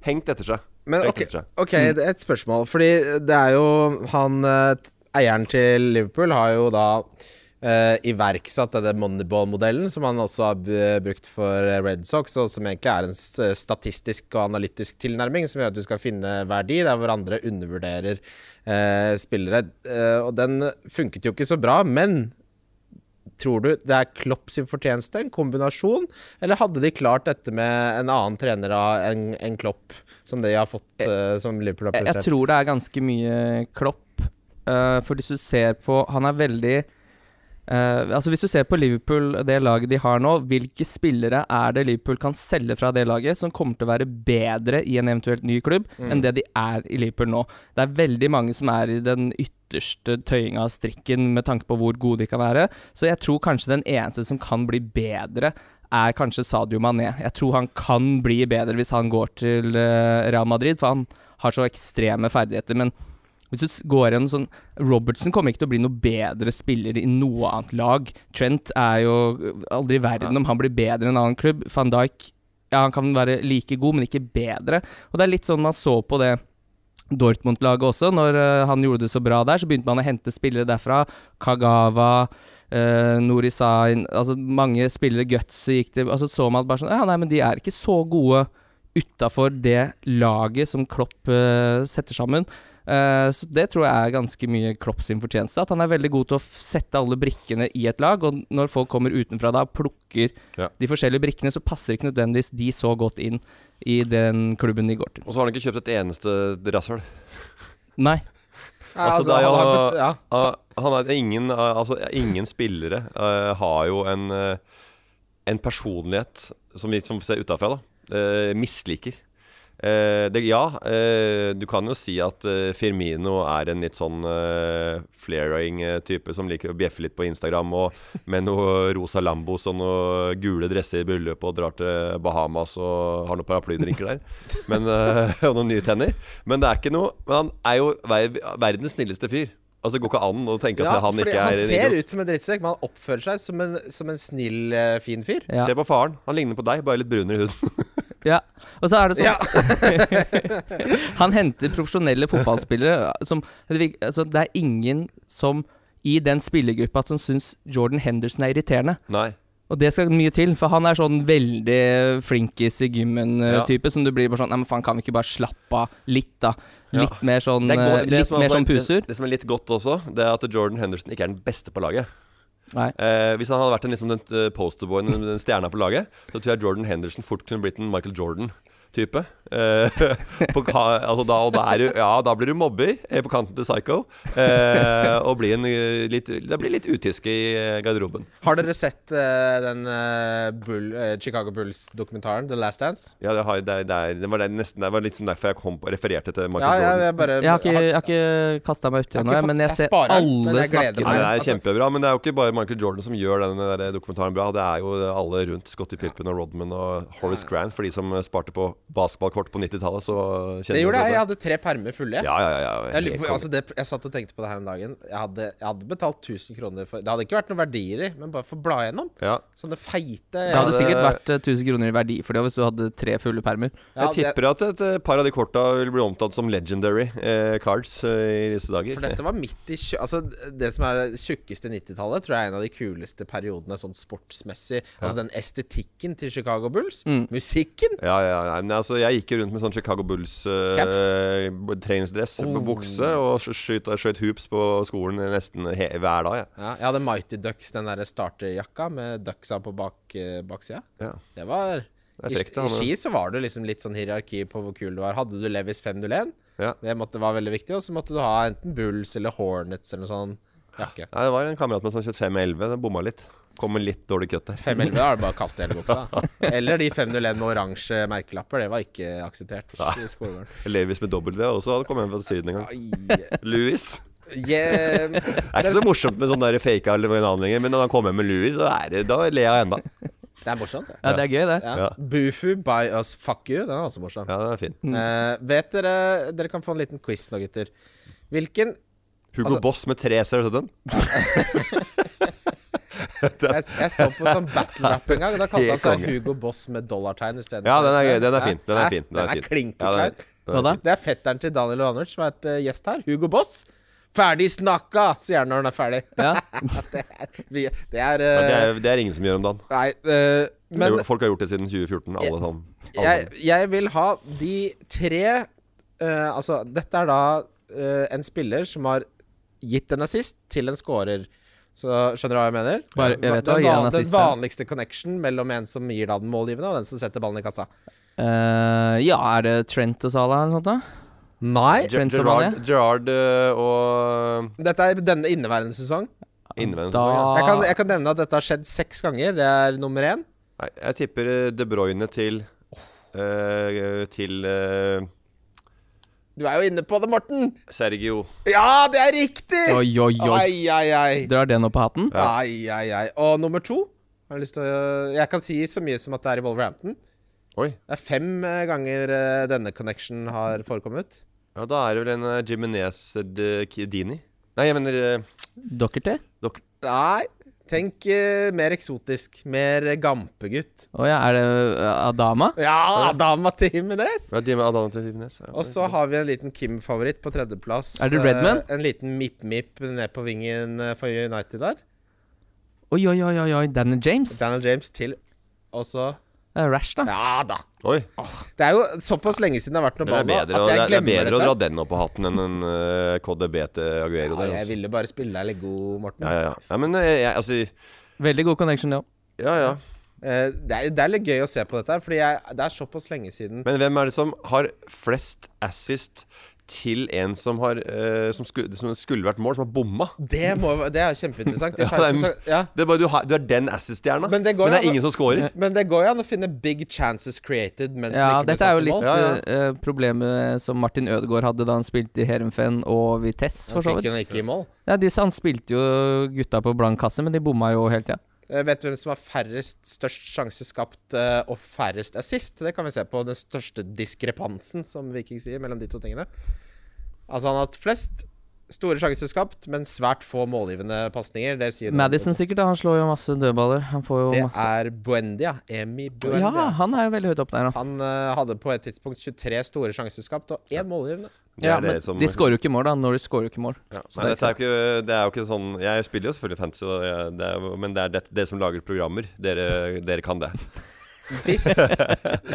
Speaker 4: hengt etter seg.
Speaker 3: Men
Speaker 4: Hengt
Speaker 3: ok,
Speaker 4: etter seg.
Speaker 3: ok,
Speaker 4: Mm.
Speaker 3: det er et spørsmål. Fordi det er jo han eh, Eieren til Liverpool har jo da eh, iverksatt denne Moneyball-modellen, som han også har b- brukt for Red Sox, og som egentlig er en s- statistisk og analytisk tilnærming, som gjør at du skal finne verdi der hvor andre undervurderer eh, spillere. Eh, og den funket jo ikke så bra, men Tror du det er Klopp sin fortjeneste, en kombinasjon, eller hadde de klart dette med en annen trener av en, en Klopp, som de har fått, eh, som Liverpool har
Speaker 2: Jeg, jeg
Speaker 3: prestert?
Speaker 2: tror det er ganske mye klopp. eh, for hvis du ser på Han er veldig eh, Altså Hvis du ser på Liverpool, det laget de har nå, hvilke spillere er det Liverpool kan selge fra det laget som kommer til å være bedre i en eventuelt ny klubb, enn det de er i Liverpool nå? Det er veldig mange som er i den ytterste tøyinga av strikken med tanke på hvor gode de kan være. Så jeg tror kanskje den eneste som kan bli bedre, er kanskje Sadio Mané. Jeg tror han kan bli bedre hvis han går til eh, Real Madrid, for han har så ekstreme ferdigheter. Men hvis du s- går igjen sånn Robertsen kommer ikke til å bli noe bedre spiller i noe annet lag. Trent er jo aldri i verden om han blir bedre i en annen klubb. Van Dijk ja, han kan være like god, men ikke bedre. Og det er litt sånn man så på det Dortmund-laget også. Når eh, han gjorde det så bra der, så begynte man å hente spillere derfra. Kagawa, uh, Norisain Altså mange spillere. Gutsy gikk til Altså så man bare sånn Ja, nei, men de er ikke så gode utafor det laget som Klopp eh, setter sammen. Eh, så det tror jeg er ganske mye Klopp sin fortjeneste. At han er veldig god til å f- sette alle brikkene i et lag, og når folk kommer utenfra da og plukker
Speaker 4: Ja.
Speaker 2: de forskjellige brikkene, så passer ikke nødvendigvis de så godt inn i den klubben de går til.
Speaker 4: Og så har han ikke kjøpt et eneste rasshøl.
Speaker 2: Nei.
Speaker 3: Ja,
Speaker 4: altså, det er
Speaker 3: han har
Speaker 4: jo-
Speaker 3: bet- ja.
Speaker 4: Ah, han er, ingen, ah, altså, ingen spillere eh, har jo en, eh, en personlighet som vi som ser utafra, da, eh, misliker. Eh, det, ja, eh, du kan jo si at eh, Firmino er en litt sånn uh, flaring eh, type som liker å bjeffe litt på Instagram og med noe rosa Lambos og noe gule dresser i bryllupet og drar til Bahamas og har noen paraplydrinker der. Men, eh, og noen nye tenner. Men det er ikke noe Men han er jo ver verdens snilleste fyr. Altså Det går ikke an å tenke at
Speaker 3: Ja,
Speaker 4: han
Speaker 3: fordi
Speaker 4: ikke
Speaker 3: han
Speaker 4: er liksom- en
Speaker 3: ser
Speaker 4: idiot.
Speaker 3: ut som en drittsekk, men han oppfører seg som en, som en snill, eh, fin fyr.
Speaker 2: Ja.
Speaker 4: Se på faren. Han ligner på deg, bare litt brunere i huden.
Speaker 2: Ja. Og så er det sånn
Speaker 3: Ja.
Speaker 2: Han henter profesjonelle fotballspillere som det, virker- altså, det er ingen som i den spillergruppa som syns Jordan Henderson er irriterende.
Speaker 4: Nei.
Speaker 2: Og det skal mye til, for han er sånn veldig flinkis i
Speaker 4: Ja.
Speaker 2: gymmen-type. Som du blir bare sånn Nei, men faen, kan vi ikke bare slappe av litt, da?
Speaker 4: Ja.
Speaker 2: Litt mer sånn,
Speaker 4: Det, er godt-
Speaker 2: eh,
Speaker 4: det,
Speaker 2: litt
Speaker 4: som er-
Speaker 2: mer sånn
Speaker 4: det,
Speaker 2: puser?
Speaker 4: det som er litt godt også, Det er at Jordan Henderson ikke er den beste på laget.
Speaker 2: Nei.
Speaker 4: Eh, hvis han hadde vært en, liksom, den eh, posterboyen, den, den stjerna på laget, så tror jeg Jordan Henderson fort kunne blitt en Michael Jordan-type. Eh, på ka- altså da, og da, er du, ja, da blir du mobber eh, på kanten til Psycho, eh, og blir en, eh, litt, det blir litt utyske i eh, garderoben.
Speaker 3: Har dere sett eh, den eh, Bull, eh, Chicago Bulls-dokumentaren, The Last Dance?
Speaker 4: Ja, det, har, det, er- det, er- det, var, det, nesten, det var litt sånn derfor jeg kom på, refererte til
Speaker 3: Ja,
Speaker 4: Michael
Speaker 3: jeg,
Speaker 4: Jordan.
Speaker 3: jeg bare
Speaker 2: Jeg har ikke,
Speaker 3: har-
Speaker 2: jeg har ikke kasta meg
Speaker 3: Jeg
Speaker 2: uti
Speaker 3: har ikke
Speaker 2: ennå, jeg, men
Speaker 3: fått-
Speaker 2: jeg
Speaker 3: jeg
Speaker 2: ser
Speaker 3: sparer den, men
Speaker 2: alle
Speaker 3: jeg gleder
Speaker 2: snakker
Speaker 3: meg.
Speaker 2: om
Speaker 4: Nei, det
Speaker 2: det.
Speaker 4: er
Speaker 3: altså-
Speaker 4: kjempebra, men det er jo ikke bare Michael Jordan som gjør den der dokumentaren bra. Det er jo alle rundt. Scottie Pippen og Rodman og Horace Grant for de som sparte på basketballkort på 90-tallet, så kjenner
Speaker 3: Det
Speaker 4: du
Speaker 3: gjorde jeg. Jeg
Speaker 4: dette.
Speaker 3: hadde tre permer fulle. jeg.
Speaker 4: Ja, ja, ja. ja.
Speaker 3: Jeg, lurer
Speaker 4: helt
Speaker 3: på- altså det, jeg satt og tenkte på det her om dagen. Jeg hadde, jeg hadde betalt 1000 kroner for Det hadde ikke vært noen verdi i de, men bare for å bla gjennom.
Speaker 4: konge. ja.
Speaker 3: Sånne feite
Speaker 2: Det hadde
Speaker 4: det-
Speaker 2: sikkert vært eh, 1000 kroner i verdi for det hvis du hadde tre fulle permer.
Speaker 4: Jeg tipper at et eh, par av de korta vil bli omtalt som legendary eh, cards eh, i disse dager.
Speaker 3: For dette var midt i tjue- Altså, det som er det tjukkeste 90-tallet, tror jeg er en av de kuleste periodene sånn sportsmessig. Altså den estetikken til Chicago Bulls.
Speaker 4: Mm.
Speaker 3: Musikken!
Speaker 4: Ja, ja, ja. Nei, men altså, jeg gikk jo rundt med sånn Chicago Bulls
Speaker 3: Caps? Oh.
Speaker 4: eh, b- treningsdress på bukse og sk- skjøt, skjøt hoops på skolen nesten he hver dag. jeg.
Speaker 3: Ja, jeg hadde Mighty Ducks, den derre starterjakka med ducksa på bak, eh, baksida.
Speaker 4: Ja.
Speaker 3: Det var
Speaker 4: Det er frekt,
Speaker 3: I, I
Speaker 4: da, men-
Speaker 3: ski så var det liksom litt sånn hierarki på hvor kul du var. Hadde du Levis 501,
Speaker 4: Ja.
Speaker 3: det måtte, var veldig viktig, og så måtte du ha enten Bulls eller Hornets eller noe sånn jakke.
Speaker 4: Nei, det var en kamerat med sånn 25-11. Den bomma litt. Kom med litt dårlig kutt der.
Speaker 3: 511 da er det bare å kaste hele buksa. Eller de 501 med oransje merkelapper. Det var ikke akseptert i skolegården.
Speaker 4: Levis med dobbelt V også. Han kom hjem fra Syden en gang.
Speaker 3: Ai,
Speaker 4: Louis.
Speaker 3: Yeah.
Speaker 4: Det er ikke så morsomt med sånn der fake eller en annen lenger, men når han kommer med Louis, så er det, da ler jeg ennå.
Speaker 3: Det er morsomt, det.
Speaker 2: Ja, det er gøy, det.
Speaker 3: Ja.
Speaker 4: Ja.
Speaker 3: Bufu by us fuck you. Den er også morsom.
Speaker 4: Ja, den er fin.
Speaker 3: Eh, vet dere Dere kan få en liten quiz nå, gutter. Hvilken
Speaker 4: Hugo
Speaker 3: Altså-
Speaker 4: Boss med tre S, har du sånn? sett den?
Speaker 3: Jeg, jeg så på sånn battle rap en gang. Da kalte han
Speaker 4: Helt
Speaker 3: seg
Speaker 4: konge.
Speaker 3: Hugo Boss med dollartegn isteden.
Speaker 4: Ja,
Speaker 3: for
Speaker 4: den er,
Speaker 3: resten.
Speaker 4: gøy. den er fin. Den
Speaker 3: Hæ?
Speaker 4: er fin. Den er, fin. Ja, den
Speaker 3: klinkeklar.
Speaker 4: er- den er
Speaker 2: Hva da?
Speaker 4: fin.
Speaker 3: det er fetteren til Daniel Ovanert som har vært eh, gjest her. Hugo Boss. Ferdig snakka, sier han når han er ferdig.
Speaker 2: Ja.
Speaker 3: det er, vi- det er,
Speaker 4: Ja, det,
Speaker 3: eh,
Speaker 4: er, det er ingen som gjør om dagen.
Speaker 3: Nei, eh, men
Speaker 4: Jo, Folk har gjort det siden 2014, alle sammen. Alle
Speaker 3: jeg,
Speaker 4: sammen.
Speaker 3: jeg vil ha de tre eh, Altså, dette er da eh, en spiller som har gitt en assist til en scorer. Så Skjønner du hva jeg mener?
Speaker 2: Bare- jeg vet hva,
Speaker 3: den,
Speaker 2: gi en
Speaker 3: van, den
Speaker 2: assist, ja.
Speaker 3: vanligste connection mellom en som gir deg den målgivende, og den som setter ballen i kassa.
Speaker 2: Eh, ja, er det Trent og Salah eller noe sånt? da?
Speaker 3: Nei.
Speaker 4: Ger-
Speaker 2: Trent og
Speaker 4: Gerard,
Speaker 2: Mané?
Speaker 4: Gerard øh, og
Speaker 3: Dette er denne inneværende sesong.
Speaker 4: innvendig
Speaker 2: Da
Speaker 4: sesong. ja.
Speaker 3: Jeg kan, jeg kan nevne at dette har skjedd seks ganger. Det er nummer én.
Speaker 4: Nei, jeg tipper øh, De Bruyne til øh, Til øh,
Speaker 3: Du er jo inne på det, Morten!
Speaker 4: Sergio.
Speaker 3: Ja, det er riktig!
Speaker 2: Oi, oi, oi.
Speaker 3: Ai, ai, ai.
Speaker 2: Drar den opp på hatten?
Speaker 3: Ai, ai, ai. Og nummer to har jeg, lyst til å, jeg kan si så mye som at det er i Wolverhampton.
Speaker 4: Oi.
Speaker 3: Det er fem eh, ganger eh, denne connection har forekommet.
Speaker 4: Ja, da er det vel en uh, Jimenez de Kidini. Nei, jeg mener øh,
Speaker 2: Docherty?
Speaker 4: dok
Speaker 3: Nei, tenk eh, mer eksotisk. Mer eh, gampegutt.
Speaker 2: Å ja, er det eh, Adama?
Speaker 3: Ja, dama til Jimenez!
Speaker 4: ja, Jim Adana til Jimenez. Ja.
Speaker 3: Og så har vi en liten Kim-favoritt på tredjeplass.
Speaker 2: Er det Redman?
Speaker 3: Eh, En liten Mip-Mip ned på vingen eh, for United der.
Speaker 2: Oi, oi, oi, oi, oi. Daniel James?
Speaker 3: Daniel James til Og så
Speaker 2: Det er Rash, da.
Speaker 3: Ja da!
Speaker 4: Oi.
Speaker 3: Det er jo såpass lenge siden det har vært noe
Speaker 4: Men det er
Speaker 3: ball nå
Speaker 4: bedre, å-
Speaker 3: at
Speaker 4: det
Speaker 3: jeg
Speaker 4: er, det er
Speaker 3: glemmer
Speaker 4: bedre å dra
Speaker 3: dette.
Speaker 4: den opp på hatten enn en øh, KDB til Aguero.
Speaker 3: Ja,
Speaker 4: der,
Speaker 3: jeg
Speaker 4: altså.
Speaker 3: ville bare spille deg litt god, Morten.
Speaker 4: ja, ja, ja. ja, men øh, jeg, altså
Speaker 2: Veldig god connection, det òg.
Speaker 4: Ja, ja.
Speaker 3: Eh, det, er, det er litt gøy å se på dette, her, fordi jeg, det er såpass lenge siden.
Speaker 4: Men hvem er det som har flest assist til en som, har, eh, som, skulle, som skulle vært mål, som har bomma?
Speaker 3: Det, må, det er kjempeinteressant. I
Speaker 4: Ja,
Speaker 3: pausen
Speaker 4: det er-
Speaker 3: så- ja.
Speaker 4: Det er bare, du, har, du er den assist-stjerna,
Speaker 3: Men
Speaker 4: men,
Speaker 3: det går
Speaker 4: det
Speaker 3: jo
Speaker 4: er
Speaker 3: an å-
Speaker 4: ingen som scorer.
Speaker 3: Men det går jo an å finne big chances created. Men som
Speaker 2: Ja,
Speaker 3: ikke blir
Speaker 2: dette er jo
Speaker 3: satt i
Speaker 2: litt
Speaker 3: mål.
Speaker 4: Ja, ja.
Speaker 2: eh, problemet som Martin Ødegaard hadde da han spilte i Heerenveen og Vitesse, for så
Speaker 3: Han fikk
Speaker 2: vidt.
Speaker 3: hun ikke i mål.
Speaker 2: Ja, de, han spilte jo gutta på blank kasse, men de bomma jo hele tida.
Speaker 3: Eh, vet du hvem som har færrest, størst sjanse skapt eh, og færrest assist? Det kan vi se på den største diskrepansen, som Viking sier, mellom de to tingene. Altså, han har hatt flest store sjanser skapt, men svært få målgivende pasninger. Det sier noe om-
Speaker 2: Madison sikkert, da. Han slår jo masse dødballer. Han får jo
Speaker 3: Det
Speaker 2: masse
Speaker 3: er Buendia. Emi Buendia.
Speaker 2: Ja, han er jo veldig høyt oppe der, da.
Speaker 3: Han eh, hadde på et tidspunkt 23 store sjanser skapt og én målgivende.
Speaker 4: Det
Speaker 2: Ja,
Speaker 4: er det
Speaker 2: men
Speaker 4: som-
Speaker 2: de skårer jo ikke mål, da. Når de skårer jo ikke mål.
Speaker 4: Ja,
Speaker 2: Så det er
Speaker 4: nei, dette er jo ikke, det er jo ikke sånn Jeg spiller jo selvfølgelig fantasy, og jeg- det er, jo- men det er det, dere som lager programmer. Dere, dere kan det.
Speaker 3: Hvis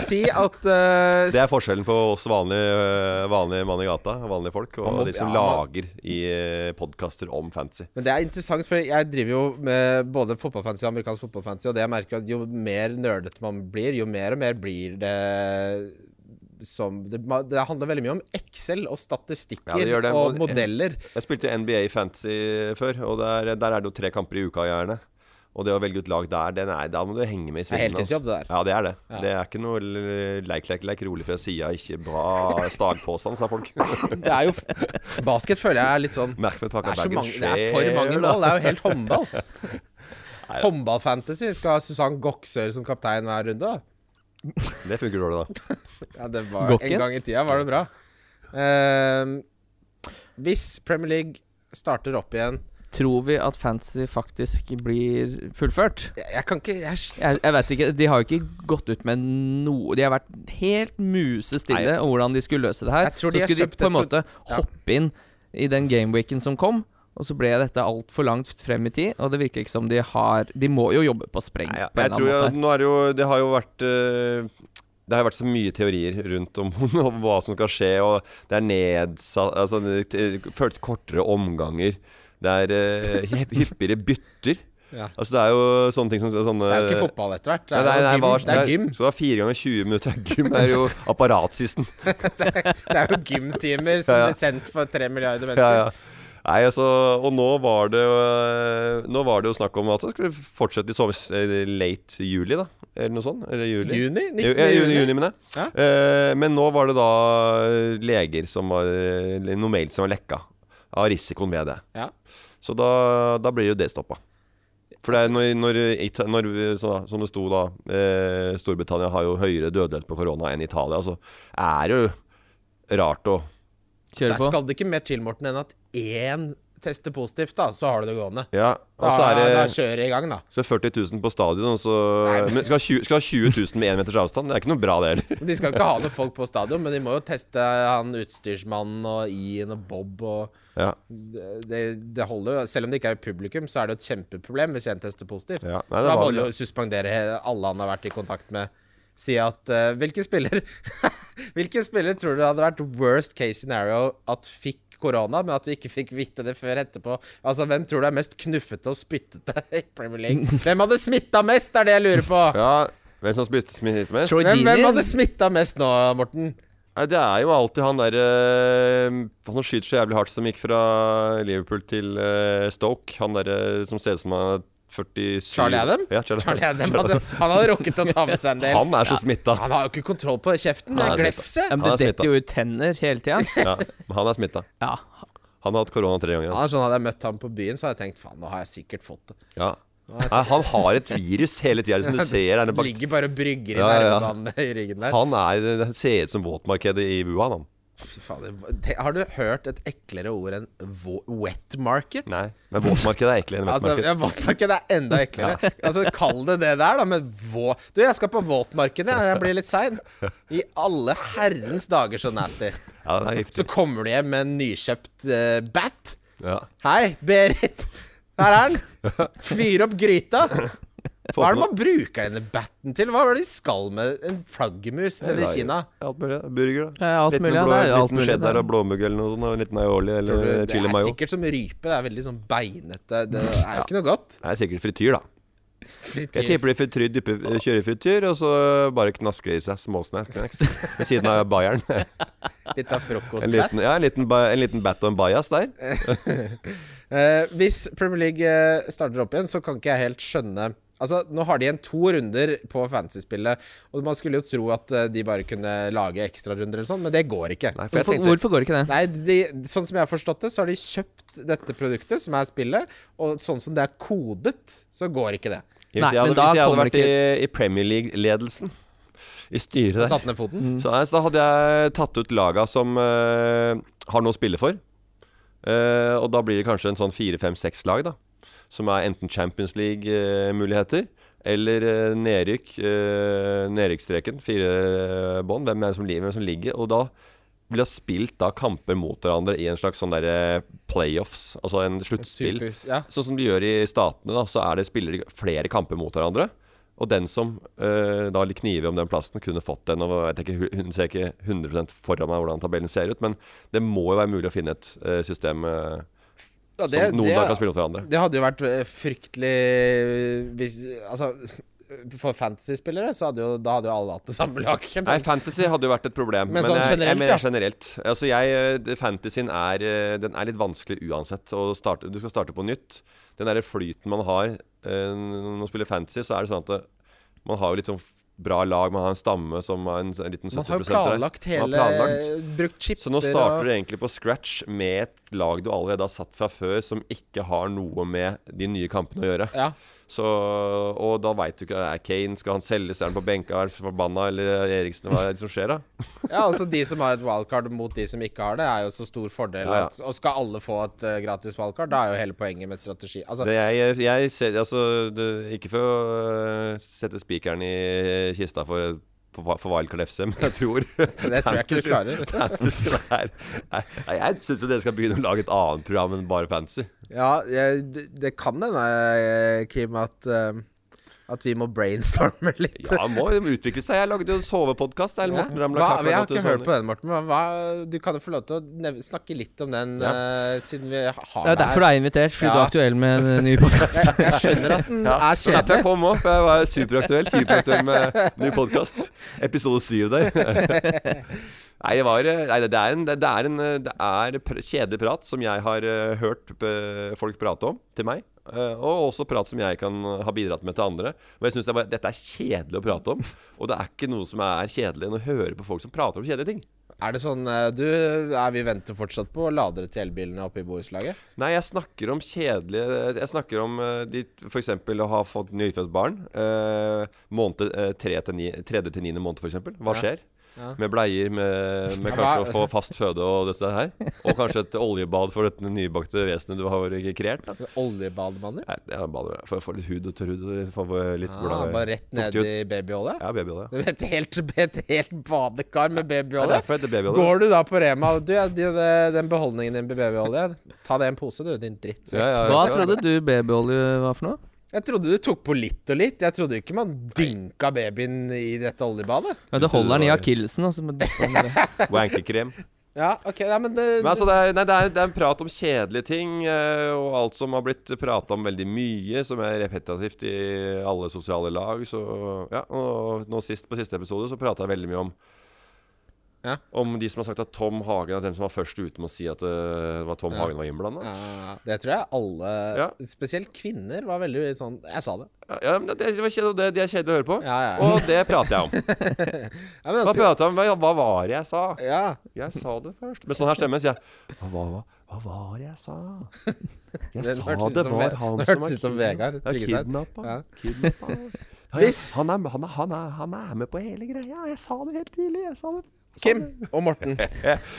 Speaker 3: Si at eh,
Speaker 4: Det er forskjellen på oss vanlige, vanlige mann i gata, vanlige folk, og
Speaker 3: Man må-
Speaker 4: de som
Speaker 3: ja, man-
Speaker 4: lager i podkaster om fantasy.
Speaker 3: Men det er interessant, for jeg driver jo med både fotballfancy og amerikansk fotballfancy, og det jeg merker at jo mer nerdete man blir, jo mer og mer blir det som Det, ma- det handler veldig mye om Excel og statistikker
Speaker 4: Ja, det gjør det.
Speaker 3: og
Speaker 4: Mod-
Speaker 3: modeller.
Speaker 4: Jeg spilte jo NBA Fantasy før, og der, der er det jo tre kamper i uka gjerne. Og det å velge ut lag der, den er, da må du henge med i
Speaker 3: er
Speaker 4: svingen. altså.
Speaker 3: heltidsjobb, det der.
Speaker 4: Ja, det er det. Det er ikke noe l- leik, leik, leik, rolig fra sida, ikke bra stagpåstand, sa folk.
Speaker 3: Det er jo f- Basket føler jeg er litt sånn
Speaker 4: Merk
Speaker 3: det
Speaker 4: med pakka
Speaker 3: er, så
Speaker 4: bagen
Speaker 3: mange, det er for mange mål. Det er jo helt håndball. Håndballfantasy skal ha Susann Goksør som kaptein hver runde. da.
Speaker 4: Det funker dårlig, da.
Speaker 3: Ja, det var,
Speaker 2: Går ikke.
Speaker 3: en gang i tida var det bra. Ehm, hvis Premier League starter opp igjen
Speaker 2: Tror vi at fantasy faktisk blir fullført?
Speaker 3: Jeg, jeg kan ikke jeg, altså,
Speaker 2: Jeg, jeg vet ikke, De har jo ikke gått ut med noe De har vært helt musestille
Speaker 4: Nei.
Speaker 2: om hvordan de skulle løse det her.
Speaker 3: Jeg tror de
Speaker 2: så
Speaker 3: har
Speaker 2: skulle
Speaker 3: kjøpt
Speaker 2: de på en
Speaker 3: et pro-
Speaker 2: måte
Speaker 3: Ja.
Speaker 2: hoppe inn i den gameweeken som kom, og så ble dette altfor langt frem i tid. Og det virker ikke som de har De må jo jobbe på spreng.
Speaker 4: Nei, ja.
Speaker 2: på en
Speaker 4: jeg
Speaker 2: eller
Speaker 4: tror jo,
Speaker 2: annen måte
Speaker 4: nå er det jo Det har jo vært eh, det har jo vært så mye teorier rundt om, om hva som skal skje, og det er nedsatt altså, det- det Føles kortere omganger. Det er eh, hypp- hyppigere bytter.
Speaker 3: Ja.
Speaker 4: Altså Det er jo sånne ting som sånne,
Speaker 3: Det er jo ikke fotball etter hvert. Det
Speaker 4: Nei,
Speaker 3: er,
Speaker 4: nei,
Speaker 3: jo
Speaker 4: nei,
Speaker 3: gym.
Speaker 4: hva-
Speaker 3: det er gym.
Speaker 4: Så det er fire ganger 20 minutter er gym. Det er jo apparatsisten.
Speaker 3: Det er jo gymtimer som
Speaker 4: Ja, ja.
Speaker 3: blir sendt for tre milliarder
Speaker 4: Ja,
Speaker 3: mennesker.
Speaker 4: ja. Nei, altså, og nå var det jo, eh, Nå var det jo snakk om at det skulle fortsette i sommer, eller late juli, da. Eller noe sånt. Eller juli.
Speaker 3: Juni? 19.
Speaker 4: Ju- ja, juni, juni mener jeg.
Speaker 3: Ja.
Speaker 4: Eh, men nå var det da eh, leger som var eh, Noe mail som var lekka. Av risikoen ved det.
Speaker 3: Ja.
Speaker 4: Så da, da blir jo det stoppa. For det er når, når, Ita- når så, Som det sto da eh, Storbritannia har jo høyere dødelighet på korona enn Italia. Så er det jo rart å
Speaker 3: Så
Speaker 2: Kjøre på.
Speaker 3: skal det ikke mer til, Morten, enn at én tester positivt, da, så har du det gående.
Speaker 4: Ja,
Speaker 3: Da,
Speaker 4: og så er
Speaker 3: da
Speaker 4: det
Speaker 3: kjører det i gang, da.
Speaker 4: så er 40 000 på stadion, og så Men skal ha 20, skal ha 20 000 med én meters avstand? Det er ikke noe bra, det heller.
Speaker 3: De skal ikke ha noen folk på stadion, men de må jo teste han utstyrsmannen og Ian og Bob og
Speaker 4: Ja,
Speaker 3: det, det holder jo, Selv om det ikke er publikum, så er det jo et kjempeproblem hvis en tester positivt.
Speaker 4: Ja, nei,
Speaker 3: For
Speaker 4: det
Speaker 3: da
Speaker 4: var
Speaker 3: må du
Speaker 4: vel-
Speaker 3: jo suspendere he- alle han har vært i kontakt med. Si at eh, Hvilken spiller Hvilken spiller tror du hadde vært worst case scenario at fikk korona, men at vi ikke fikk vite det før etterpå? Altså, Hvem tror du er mest knuffete og spyttete i Premier League? Hvem hadde smitta mest, er det jeg lurer på!
Speaker 4: ja Hvem som spytter smitter mest?
Speaker 2: Troy
Speaker 3: Hvem, hvem
Speaker 2: Deeney-
Speaker 3: hadde smitta mest nå, Morten?
Speaker 4: Nei, det er jo alltid han der eh, Han som skyter så jævlig hardt, som gikk fra Liverpool til eh, Stoke. Han derre som ser ut som han er 47
Speaker 3: Charlie Adam?
Speaker 4: Ja, Charlie,
Speaker 3: Charlie Adam
Speaker 4: Charlie
Speaker 3: hadde, Altså, han hadde rukket å ta med seg en del.
Speaker 4: Han er så smitta.
Speaker 3: Han har jo ikke kontroll på kjeften. Det
Speaker 4: Nei,
Speaker 3: er
Speaker 4: det er
Speaker 3: glefse.
Speaker 2: Ja, men
Speaker 4: Han
Speaker 2: det
Speaker 4: er smittet.
Speaker 2: detter jo ut tenner hele tida.
Speaker 4: Ja, men han er smitta.
Speaker 2: Ja.
Speaker 4: Han har hatt korona tre ganger.
Speaker 3: Ja, sånn Hadde jeg møtt ham på byen, så hadde jeg tenkt faen, nå har jeg sikkert fått det.
Speaker 4: Ja. Nei, han har et virus hele tida, som du ser. denne bak-
Speaker 3: Ligger bare og brygger i
Speaker 4: Ja, ja, ja.
Speaker 3: nervene i ryggen der.
Speaker 4: Han er, det ser ut som våtmarkedet i Wuhan, han.
Speaker 3: Fy faen, det, det, har du hørt et eklere ord enn vo- wet market?
Speaker 4: Nei, men våtmarkedet er eklere enn
Speaker 3: Altså,
Speaker 4: våtmarked.
Speaker 3: ja, Våtmarked er enda eklere. Altså, Kall det det der, da, men vå... Du, jeg skal på våtmarkedet, jeg. jeg blir litt sein. I alle herrens dager, så nasty.
Speaker 4: Ja, det
Speaker 3: Så
Speaker 4: er giftig.
Speaker 3: kommer du hjem med en nykjøpt eh, bat.
Speaker 4: Ja.
Speaker 3: Hei, Berit. Her er den. Fyr opp gryta. Hva er det man bruker denne batten til? Hva var det de skal med en flaggermus nede i Kina?
Speaker 4: Alt mulig. Burger, da.
Speaker 2: Ja, alt
Speaker 4: Liten
Speaker 2: mulig, ja,
Speaker 4: blå-
Speaker 2: det er alt
Speaker 4: liten
Speaker 2: mulig, det
Speaker 4: cheddar
Speaker 2: er.
Speaker 4: og blåmugg eller noe sånt. og En liten aioli
Speaker 3: Tror
Speaker 4: eller
Speaker 3: du- Det
Speaker 4: chili
Speaker 3: er
Speaker 4: mayo.
Speaker 3: sikkert som rype. Det er veldig sånn beinete. Det er jo ikke noe godt.
Speaker 4: Det er sikkert frityr, da. Jeg
Speaker 3: Frityr.
Speaker 4: tipper de frityr, dypper, kjører frityr, og så bare knasker de i seg småsnacks snacks ved siden av bayeren.
Speaker 3: Litt av frokost
Speaker 4: En
Speaker 3: der.
Speaker 4: liten, ja, en liten, ba- en liten bat og en bajas der.
Speaker 3: Eh, hvis Premier League eh, starter opp igjen, så kan ikke jeg helt skjønne Altså, Nå har de igjen to runder på fantasy-spillet, og man skulle jo tro at eh, de bare kunne lage ekstrarunder eller sånn, men det går ikke.
Speaker 4: Nei, for jeg
Speaker 2: Hvorfor,
Speaker 4: tenkte
Speaker 2: hvorfor går ikke det?
Speaker 3: Nei, de, sånn som jeg har forstått det, så har de kjøpt dette produktet, som er spillet, og sånn som det er kodet, så går ikke det.
Speaker 4: Hvis
Speaker 2: Nei,
Speaker 4: jeg hadde,
Speaker 2: men da
Speaker 4: hvis jeg hadde
Speaker 2: kommer
Speaker 4: vært i, i Premier League-ledelsen, i styret der,
Speaker 3: Satt ned foten.
Speaker 4: så, nei, så da hadde jeg tatt ut laga som eh, har noe å spille for. Eh, og da blir det kanskje en sånn fire, fem, seks lag, da. Som er enten Champions League-muligheter eller eh, nedrykk. eh, nedrykksstreken, fire eh, bånd. Hvem er det som, li- hvem som ligger? Og da blir det spilt da kamper mot hverandre i en slags sånn derre playoffs, altså en sluttspill.
Speaker 3: Super, ja.
Speaker 4: Sånn som de gjør i statene, da, så er det spillere flere kamper mot hverandre. Og den som eh, da litt kniver om den plassen, kunne fått den. Og jeg tenker, hun ser ikke 100 foran meg hvordan tabellen ser ut, men det må jo være mulig å finne et eh, system eh,
Speaker 3: Ja,
Speaker 4: som noen da kan spille mot hverandre.
Speaker 3: Det hadde jo vært eh, fryktelig hvis, Altså, for fantasy-spillere så hadde jo Da hadde jo alle hatt det samme laget.
Speaker 4: Nei, fantasy hadde jo vært et problem.
Speaker 3: Men sånn
Speaker 4: jeg,
Speaker 3: generelt,
Speaker 4: jeg mener
Speaker 3: ja.
Speaker 4: generelt. Altså jeg, eh, det- Fantasyen er, eh, den er litt vanskelig uansett. Å starte, du skal starte på nytt. Den derre flyten man har eh, når man spiller fantasy, så er det sånn at det, man har jo litt sånn f- bra lag. Man har en stamme som er en, en liten 70
Speaker 3: Man har jo planlagt
Speaker 4: Man har
Speaker 3: hele
Speaker 4: planlagt.
Speaker 3: Brukt chipper
Speaker 4: Så nå starter du egentlig på scratch med et lag du allerede har satt fra før, som ikke har noe med de nye kampene å gjøre.
Speaker 3: Ja.
Speaker 4: Så, og da veit du ikke er Kane Skal han selges, er han på benka, er han forbanna, eller Eriksen? Hva er det som skjer, da?
Speaker 3: Ja, altså De som har et wildcard mot de som ikke har det, er jo så stor fordel.
Speaker 4: Ja, ja.
Speaker 3: At, og skal alle få et eh, gratis wildcard, da er jo hele poenget med strategi. Altså,
Speaker 4: Det jeg, jeg ser, altså, det, ikke for å øh, sette spikeren i kista for, for, for Wildcard FC, men jeg tror
Speaker 3: Det tror jeg ikke du klarer.
Speaker 4: Fantasy er, nei, nei, jeg syns jo dere skal begynne å lage et annet program enn bare fantasy.
Speaker 3: ja, jeg, det, det kan hende, eh, Kim, at, eh, at vi må brainstorme litt.
Speaker 4: Ja, må de utvikle seg. Jeg lagde jo en sovepodkast.
Speaker 3: Ja. Hva, jeg har ikke hørt på den, Morten. men Hva, du kan jo få lov til å nev snakke litt om den, eh, siden vi har
Speaker 2: Det er derfor du er invitert, fordi du
Speaker 3: Ja.
Speaker 2: er aktuell med en ny podkast.
Speaker 3: Jeg skjønner at den er
Speaker 4: Ja, det var derfor
Speaker 3: kjedelig.
Speaker 4: jeg kom òg, for jeg var superaktuell. Superaktuell med ny podkast. Episode syv der. Nei, det, var, eh, nei det, er en, det er en eh, Det er pr- kjedelig prat som jeg har eh, hørt eh, folk prate om til meg. eh, og også prat som jeg kan ha bidratt med til andre. Men jeg synes det var, dette er kjedelig å prate om. Og det er ikke noe som er kjedelig enn å høre på folk som prater om kjedelige ting.
Speaker 3: Er det sånn eh, Du, er vi venter fortsatt på ladere til elbilene oppe i borettslaget?
Speaker 4: Nei, jeg snakker om kjedelige Jeg snakker om eh, de f.eks. å ha fått nyfødt barn. eh, måned, eh, tre til ni- tredje til niende måned, f.eks. Hva skjer? Med bleier, med, med
Speaker 3: Ja,
Speaker 4: kanskje
Speaker 3: hva-
Speaker 4: å få fast føde og dette her. Og kanskje et oljebad for dette nybakte vesenet du har kreert. Da.
Speaker 3: Oljebademanner?
Speaker 4: Nei, det er bare for å få litt hud og tørr hud. og Få litt
Speaker 3: Ah,
Speaker 4: hvordan-
Speaker 3: bare rett ned
Speaker 4: fuktig hud.
Speaker 3: i babyolje?
Speaker 4: Ja, babyolje. Ja.
Speaker 3: Det er Et helt, et helt badekar med
Speaker 4: Det er
Speaker 3: babyolje?
Speaker 4: derfor det heter babyolje.
Speaker 3: Går du da på Rema og Du, ja, de, de, den beholdningen din med babyolje, ta det i en pose, du, din drittsekk.
Speaker 4: Ja, ja,
Speaker 2: Hva
Speaker 4: ja.
Speaker 2: trodde du babyolje var for noe?
Speaker 3: Jeg trodde du tok på litt og litt. Jeg trodde ikke man dynka babyen i dette oljebadet.
Speaker 2: Ja, du
Speaker 4: trodde
Speaker 2: holder den i
Speaker 4: det var-
Speaker 2: akillesen, og så må du dytte den i det.
Speaker 4: Wankekrem.
Speaker 3: Ja, ok, ja, men, det,
Speaker 4: Men altså, det er, nei, det, er, det er en prat om kjedelige ting, eh, og alt som har blitt prata om veldig mye, som er repetitivt i alle sosiale lag. Så, ja, og nå sist, på siste episode så prata jeg veldig mye om
Speaker 3: Ja.
Speaker 4: Om de som har sagt at Tom Hagen er den som var først ute med å si at eh, det var Tom Hagen var innblanda.
Speaker 3: Ja, det tror jeg alle,
Speaker 4: Ja.
Speaker 3: spesielt kvinner, var veldig sånn Jeg sa det.
Speaker 4: Ja. Ja, men det, det, var kjedelig, det, det er kjedelig å høre på,
Speaker 3: Ja, ja.
Speaker 4: og det prater jeg om.
Speaker 3: Ja, men
Speaker 4: Hva,
Speaker 3: altså,
Speaker 4: prater jeg om? Hva- hva var det jeg sa?
Speaker 3: ja.
Speaker 4: Jeg sa det først. Med sånn her stemme sier jeg Hva, hva, hva, hva var det jeg sa? Jeg
Speaker 3: Den
Speaker 4: sa
Speaker 3: hørtes
Speaker 4: det
Speaker 3: ut som
Speaker 4: var
Speaker 3: Ve-
Speaker 4: han
Speaker 3: den
Speaker 4: som
Speaker 3: hørtes ut som Vegard Tryggeseid.
Speaker 4: kidnappa.
Speaker 3: Ja.
Speaker 4: kidnappa. Ja, jeg-
Speaker 3: Hvis-
Speaker 4: han, er, han, er, han, er, han er med på hele greia. Jeg sa det helt tidlig. Jeg sa det.
Speaker 3: Kim og Morten.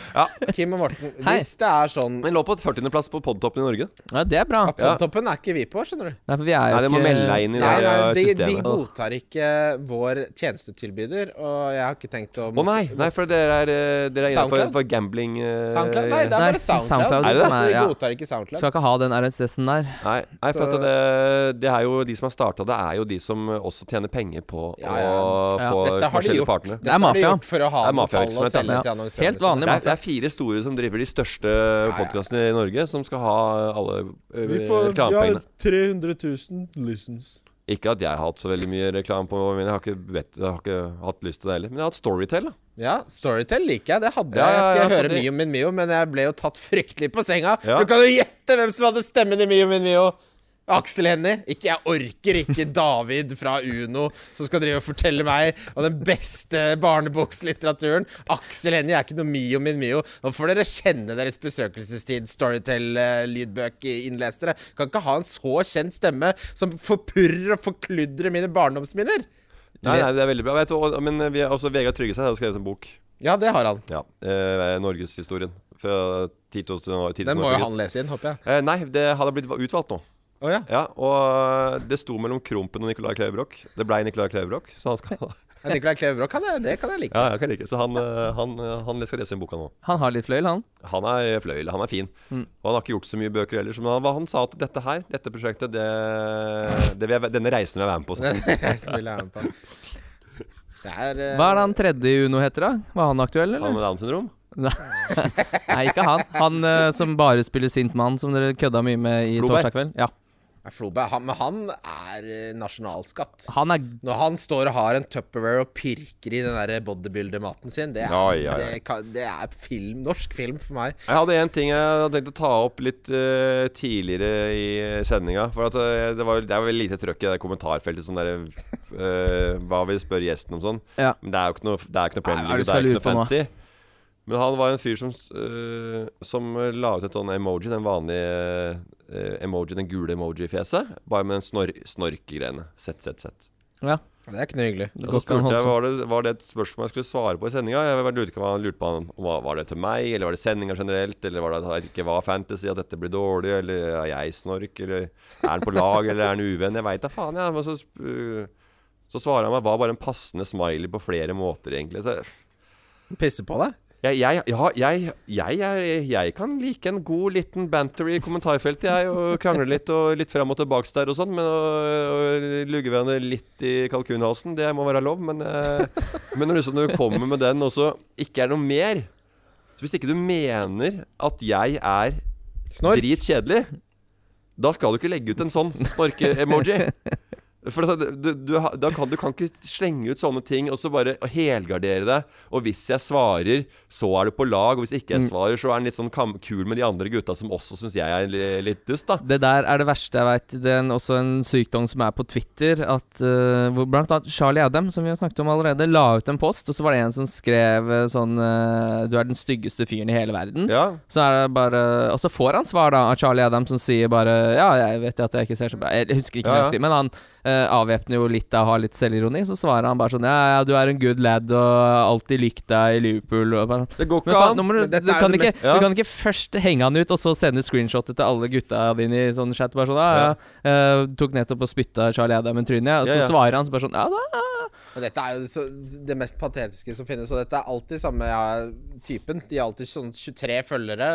Speaker 3: Kim og Morten.
Speaker 2: Hei.
Speaker 3: Hvis det er sånn
Speaker 4: Men lå på 40.-plass på podtoppen i Norge.
Speaker 2: Ja, det er bra.
Speaker 4: Ja.
Speaker 3: Apotoppen er ikke vi på, skjønner du.
Speaker 2: Nei, for vi er jo
Speaker 4: Nei, det må
Speaker 2: ikke
Speaker 4: melde deg inn i det
Speaker 3: Nei, nei,
Speaker 4: eh,
Speaker 3: de, de
Speaker 4: systemet. Åh.
Speaker 3: godtar ikke vår tjenestetilbyder, og jeg har ikke tenkt å
Speaker 4: Å nei, nei, for dere er, eh, dere er innenfor
Speaker 3: SoundCloud?
Speaker 4: for gambling eh,
Speaker 3: SoundCloud? Nei, det er
Speaker 2: Nei,
Speaker 3: bare SoundCloud.
Speaker 2: SoundCloud
Speaker 4: er
Speaker 3: Så
Speaker 4: det det?
Speaker 2: Er
Speaker 3: De
Speaker 2: det det?
Speaker 3: godtar ikke SoundCloud.
Speaker 2: Skal ikke ha den RSS-en der.
Speaker 4: Nei, nei for
Speaker 3: Så-
Speaker 4: at det, det er jo de som har starta det, er jo de som også tjener penger på
Speaker 3: Ja, ja.
Speaker 4: å
Speaker 2: Ja.
Speaker 4: få
Speaker 3: Dette har de
Speaker 4: forskjellige
Speaker 3: gjort.
Speaker 4: partnere.
Speaker 3: Dette har de
Speaker 2: mafia.
Speaker 3: gjort For å ha
Speaker 4: Det er
Speaker 3: noe tall å
Speaker 4: mafiavirksomhet,
Speaker 3: selge til
Speaker 2: ja.
Speaker 3: liksom. annonsørene
Speaker 2: Helt vanlig
Speaker 3: sine.
Speaker 4: Det er, det er fire store som driver de største podcastene i Norge, som skal ha alle eh,
Speaker 3: Vi får- vi
Speaker 4: reklamepengene.
Speaker 3: 300 000 listens.
Speaker 4: Ikke at jeg har hatt så veldig mye reklame på mine, jeg har ikke, bedt, jeg har ikke hatt lyst til det heller. Men jeg har hatt Storytel. da.
Speaker 3: Ja, Storytel liker jeg. Det hadde
Speaker 4: Ja,
Speaker 3: jeg. Jeg
Speaker 4: ja,
Speaker 3: skal
Speaker 4: ja,
Speaker 3: høre
Speaker 4: fordi-
Speaker 3: Mio min Mio, men jeg ble jo tatt fryktelig på senga.
Speaker 4: Ja.
Speaker 3: Du kan jo gjette hvem som hadde stemmen i Mio min Mio. Aksel Hennie. Ikke jeg orker ikke David fra Uno som skal drive og fortelle meg om den beste barnebokslitteraturen. Aksel Hennie er ikke noe Mio min Mio. Nå får dere kjenne deres besøkelsestid, Storytel-lydbøkinnlesere. Kan ikke ha en så kjent stemme som forpurrer og forkludrer mine barndomsminner.
Speaker 4: Nei, nei, det er veldig bra. Vet du, og- men eh, vi, har- også Vegard Tryggeseid har skrevet en bok.
Speaker 3: Ja, det har han.
Speaker 4: Ja, eh, Norgeshistorien. Fra 10 000 år 10 000
Speaker 3: Den
Speaker 4: år
Speaker 3: må jo
Speaker 4: tilbake.
Speaker 3: han lese inn, håper jeg.
Speaker 4: Eh, nei, det hadde blitt utvalgt nå.
Speaker 3: Å ja.
Speaker 4: Ja, Og eh, det sto mellom Krompen og Nicolai Klevebrok. Det blei Nicolai Klevebrok, så han skal
Speaker 3: Ja, Nicolai Klevebrok, kan jeg, det kan jeg like.
Speaker 4: Ja, jeg kan like. Så han, eh, han, eh, han skal lese den boka nå.
Speaker 2: Han har litt fløyel, han.
Speaker 4: Han er fløyel, han er fin. Og han har ikke gjort så mye bøker heller. Men han, han sa at dette her, dette prosjektet, det, det vil jeg, denne reisen vil jeg være med på. sa han.
Speaker 3: Reisen vil jeg være med på. Det er eh,
Speaker 2: Hva er det han tredje i Uno heter, da? Var han aktuell,
Speaker 4: Han
Speaker 2: eller?
Speaker 4: med Downs syndrom?
Speaker 2: Nei, ikke han. Han eh, som bare spiller sint mann, som dere kødda mye med i
Speaker 4: Floberg.
Speaker 2: torsdag kveld. Ja.
Speaker 3: er Floberg. Han, men han er eh, nasjonalskatt.
Speaker 2: Han er
Speaker 3: Når han står og har en Tupperware og pirker i den der bodybuilder-maten sin, det er,
Speaker 4: Ja, ja, ja.
Speaker 3: Det, kan, det er film, norsk film for meg.
Speaker 4: Jeg hadde en ting jeg hadde tenkt å ta opp litt eh, tidligere i sendinga. For at, eh, det, var, det er vel lite trøkk i det kommentarfeltet. Sånn der, eh, hva vil spørre gjesten om sånn?
Speaker 2: Ja.
Speaker 4: Men det er jo ikke noe, det er ikke noe
Speaker 2: Nei,
Speaker 4: Premier
Speaker 2: hva er
Speaker 4: League,
Speaker 2: det
Speaker 4: det er
Speaker 2: du skal
Speaker 4: ikke noe
Speaker 2: lure på nå?
Speaker 4: fancy. Men han var en fyr som, øh, som la ut en sånn emoji, den vanlige øh, emoji, den gule emoji-fjeset. Bare med den snor snorkegreiene. Sett, sett, sett.
Speaker 2: Ja.
Speaker 3: Det er ikke noe hyggelig.
Speaker 2: Det
Speaker 4: Og
Speaker 2: går
Speaker 4: så
Speaker 2: ikke an å
Speaker 4: spurte
Speaker 2: holde
Speaker 4: jeg var det, var det et spørsmål jeg skulle svare på i sendinga. Jeg bare lurte ikke hva han lurte på om hva- var det til meg, eller var det sendinga generelt, eller var det at det ikke var fantasy, at dette blir dårlig, eller er jeg snork, eller er han på lag, eller er han uvenn? Jeg veit da faen, jeg. Men så, sp- øh, så svarer han meg var bare en passende smiley på flere måter, egentlig. Så
Speaker 3: Pisse på deg?
Speaker 4: jeg, jeg, ja, jeg, jeg, er, jeg kan like en god liten banter i kommentarfeltet, jeg. Og krangle litt og litt fram og tilbake der og sånn. Men å, å lugge hverandre litt i kalkunhalsen, det må være lov. Men, eh, men når du, sånn, når du kommer med den og så ikke er noe mer Så hvis ikke du mener at jeg er
Speaker 3: Snork?
Speaker 4: dritkjedelig, da skal du ikke legge ut en sånn snorke-emoji. For da, du, du, ha- da kan du kan ikke slenge ut sånne ting og så bare helgardere deg. Og hvis jeg svarer, så er du på lag. Og hvis ikke jeg svarer, så er han litt sånn kam kul med de andre gutta som også syns jeg er li- litt dust, da.
Speaker 2: Det der er det verste jeg veit. Det er en, også en sykdom som er på Twitter. At, eh, hvor blant annet Charlie Adam, som vi har snakket om allerede, la ut en post, og så var det en som skrev eh, sånn eh, Du er den styggeste fyren i hele verden.
Speaker 4: Ja.
Speaker 2: Så er det bare Og så får han svar da av Charlie Adam, som sier bare Ja, jeg vet at jeg ikke ser så bra Jeg husker ikke
Speaker 4: Ja, ja.
Speaker 2: nøyaktig, men han eh, avvæpner jo litt av å ha litt selvironi. Så svarer han bare sånn Ja, ja, du er en good lad og alltid likt deg i Liverpool og bare sånn.
Speaker 4: Det går
Speaker 2: men
Speaker 4: ikke
Speaker 2: faen, nå
Speaker 4: an.
Speaker 2: må du,
Speaker 3: Men dette
Speaker 2: du,
Speaker 3: er
Speaker 2: kan
Speaker 3: det
Speaker 2: ikke,
Speaker 3: mest-
Speaker 4: Ja.
Speaker 2: du kan ikke først henge han ut, og så sende screenshotet til alle gutta dine i sånn chat. Bare sånn, ja, ja, eh, tok nettopp og spytta Charlie Adam i trynet, og
Speaker 4: Ja,
Speaker 2: så
Speaker 4: ja.
Speaker 2: svarer han så bare sånn Ja da.
Speaker 3: Og dette er jo så, det mest patetiske som finnes, og dette er alltid samme ja, typen. De har alltid sånn 23 følgere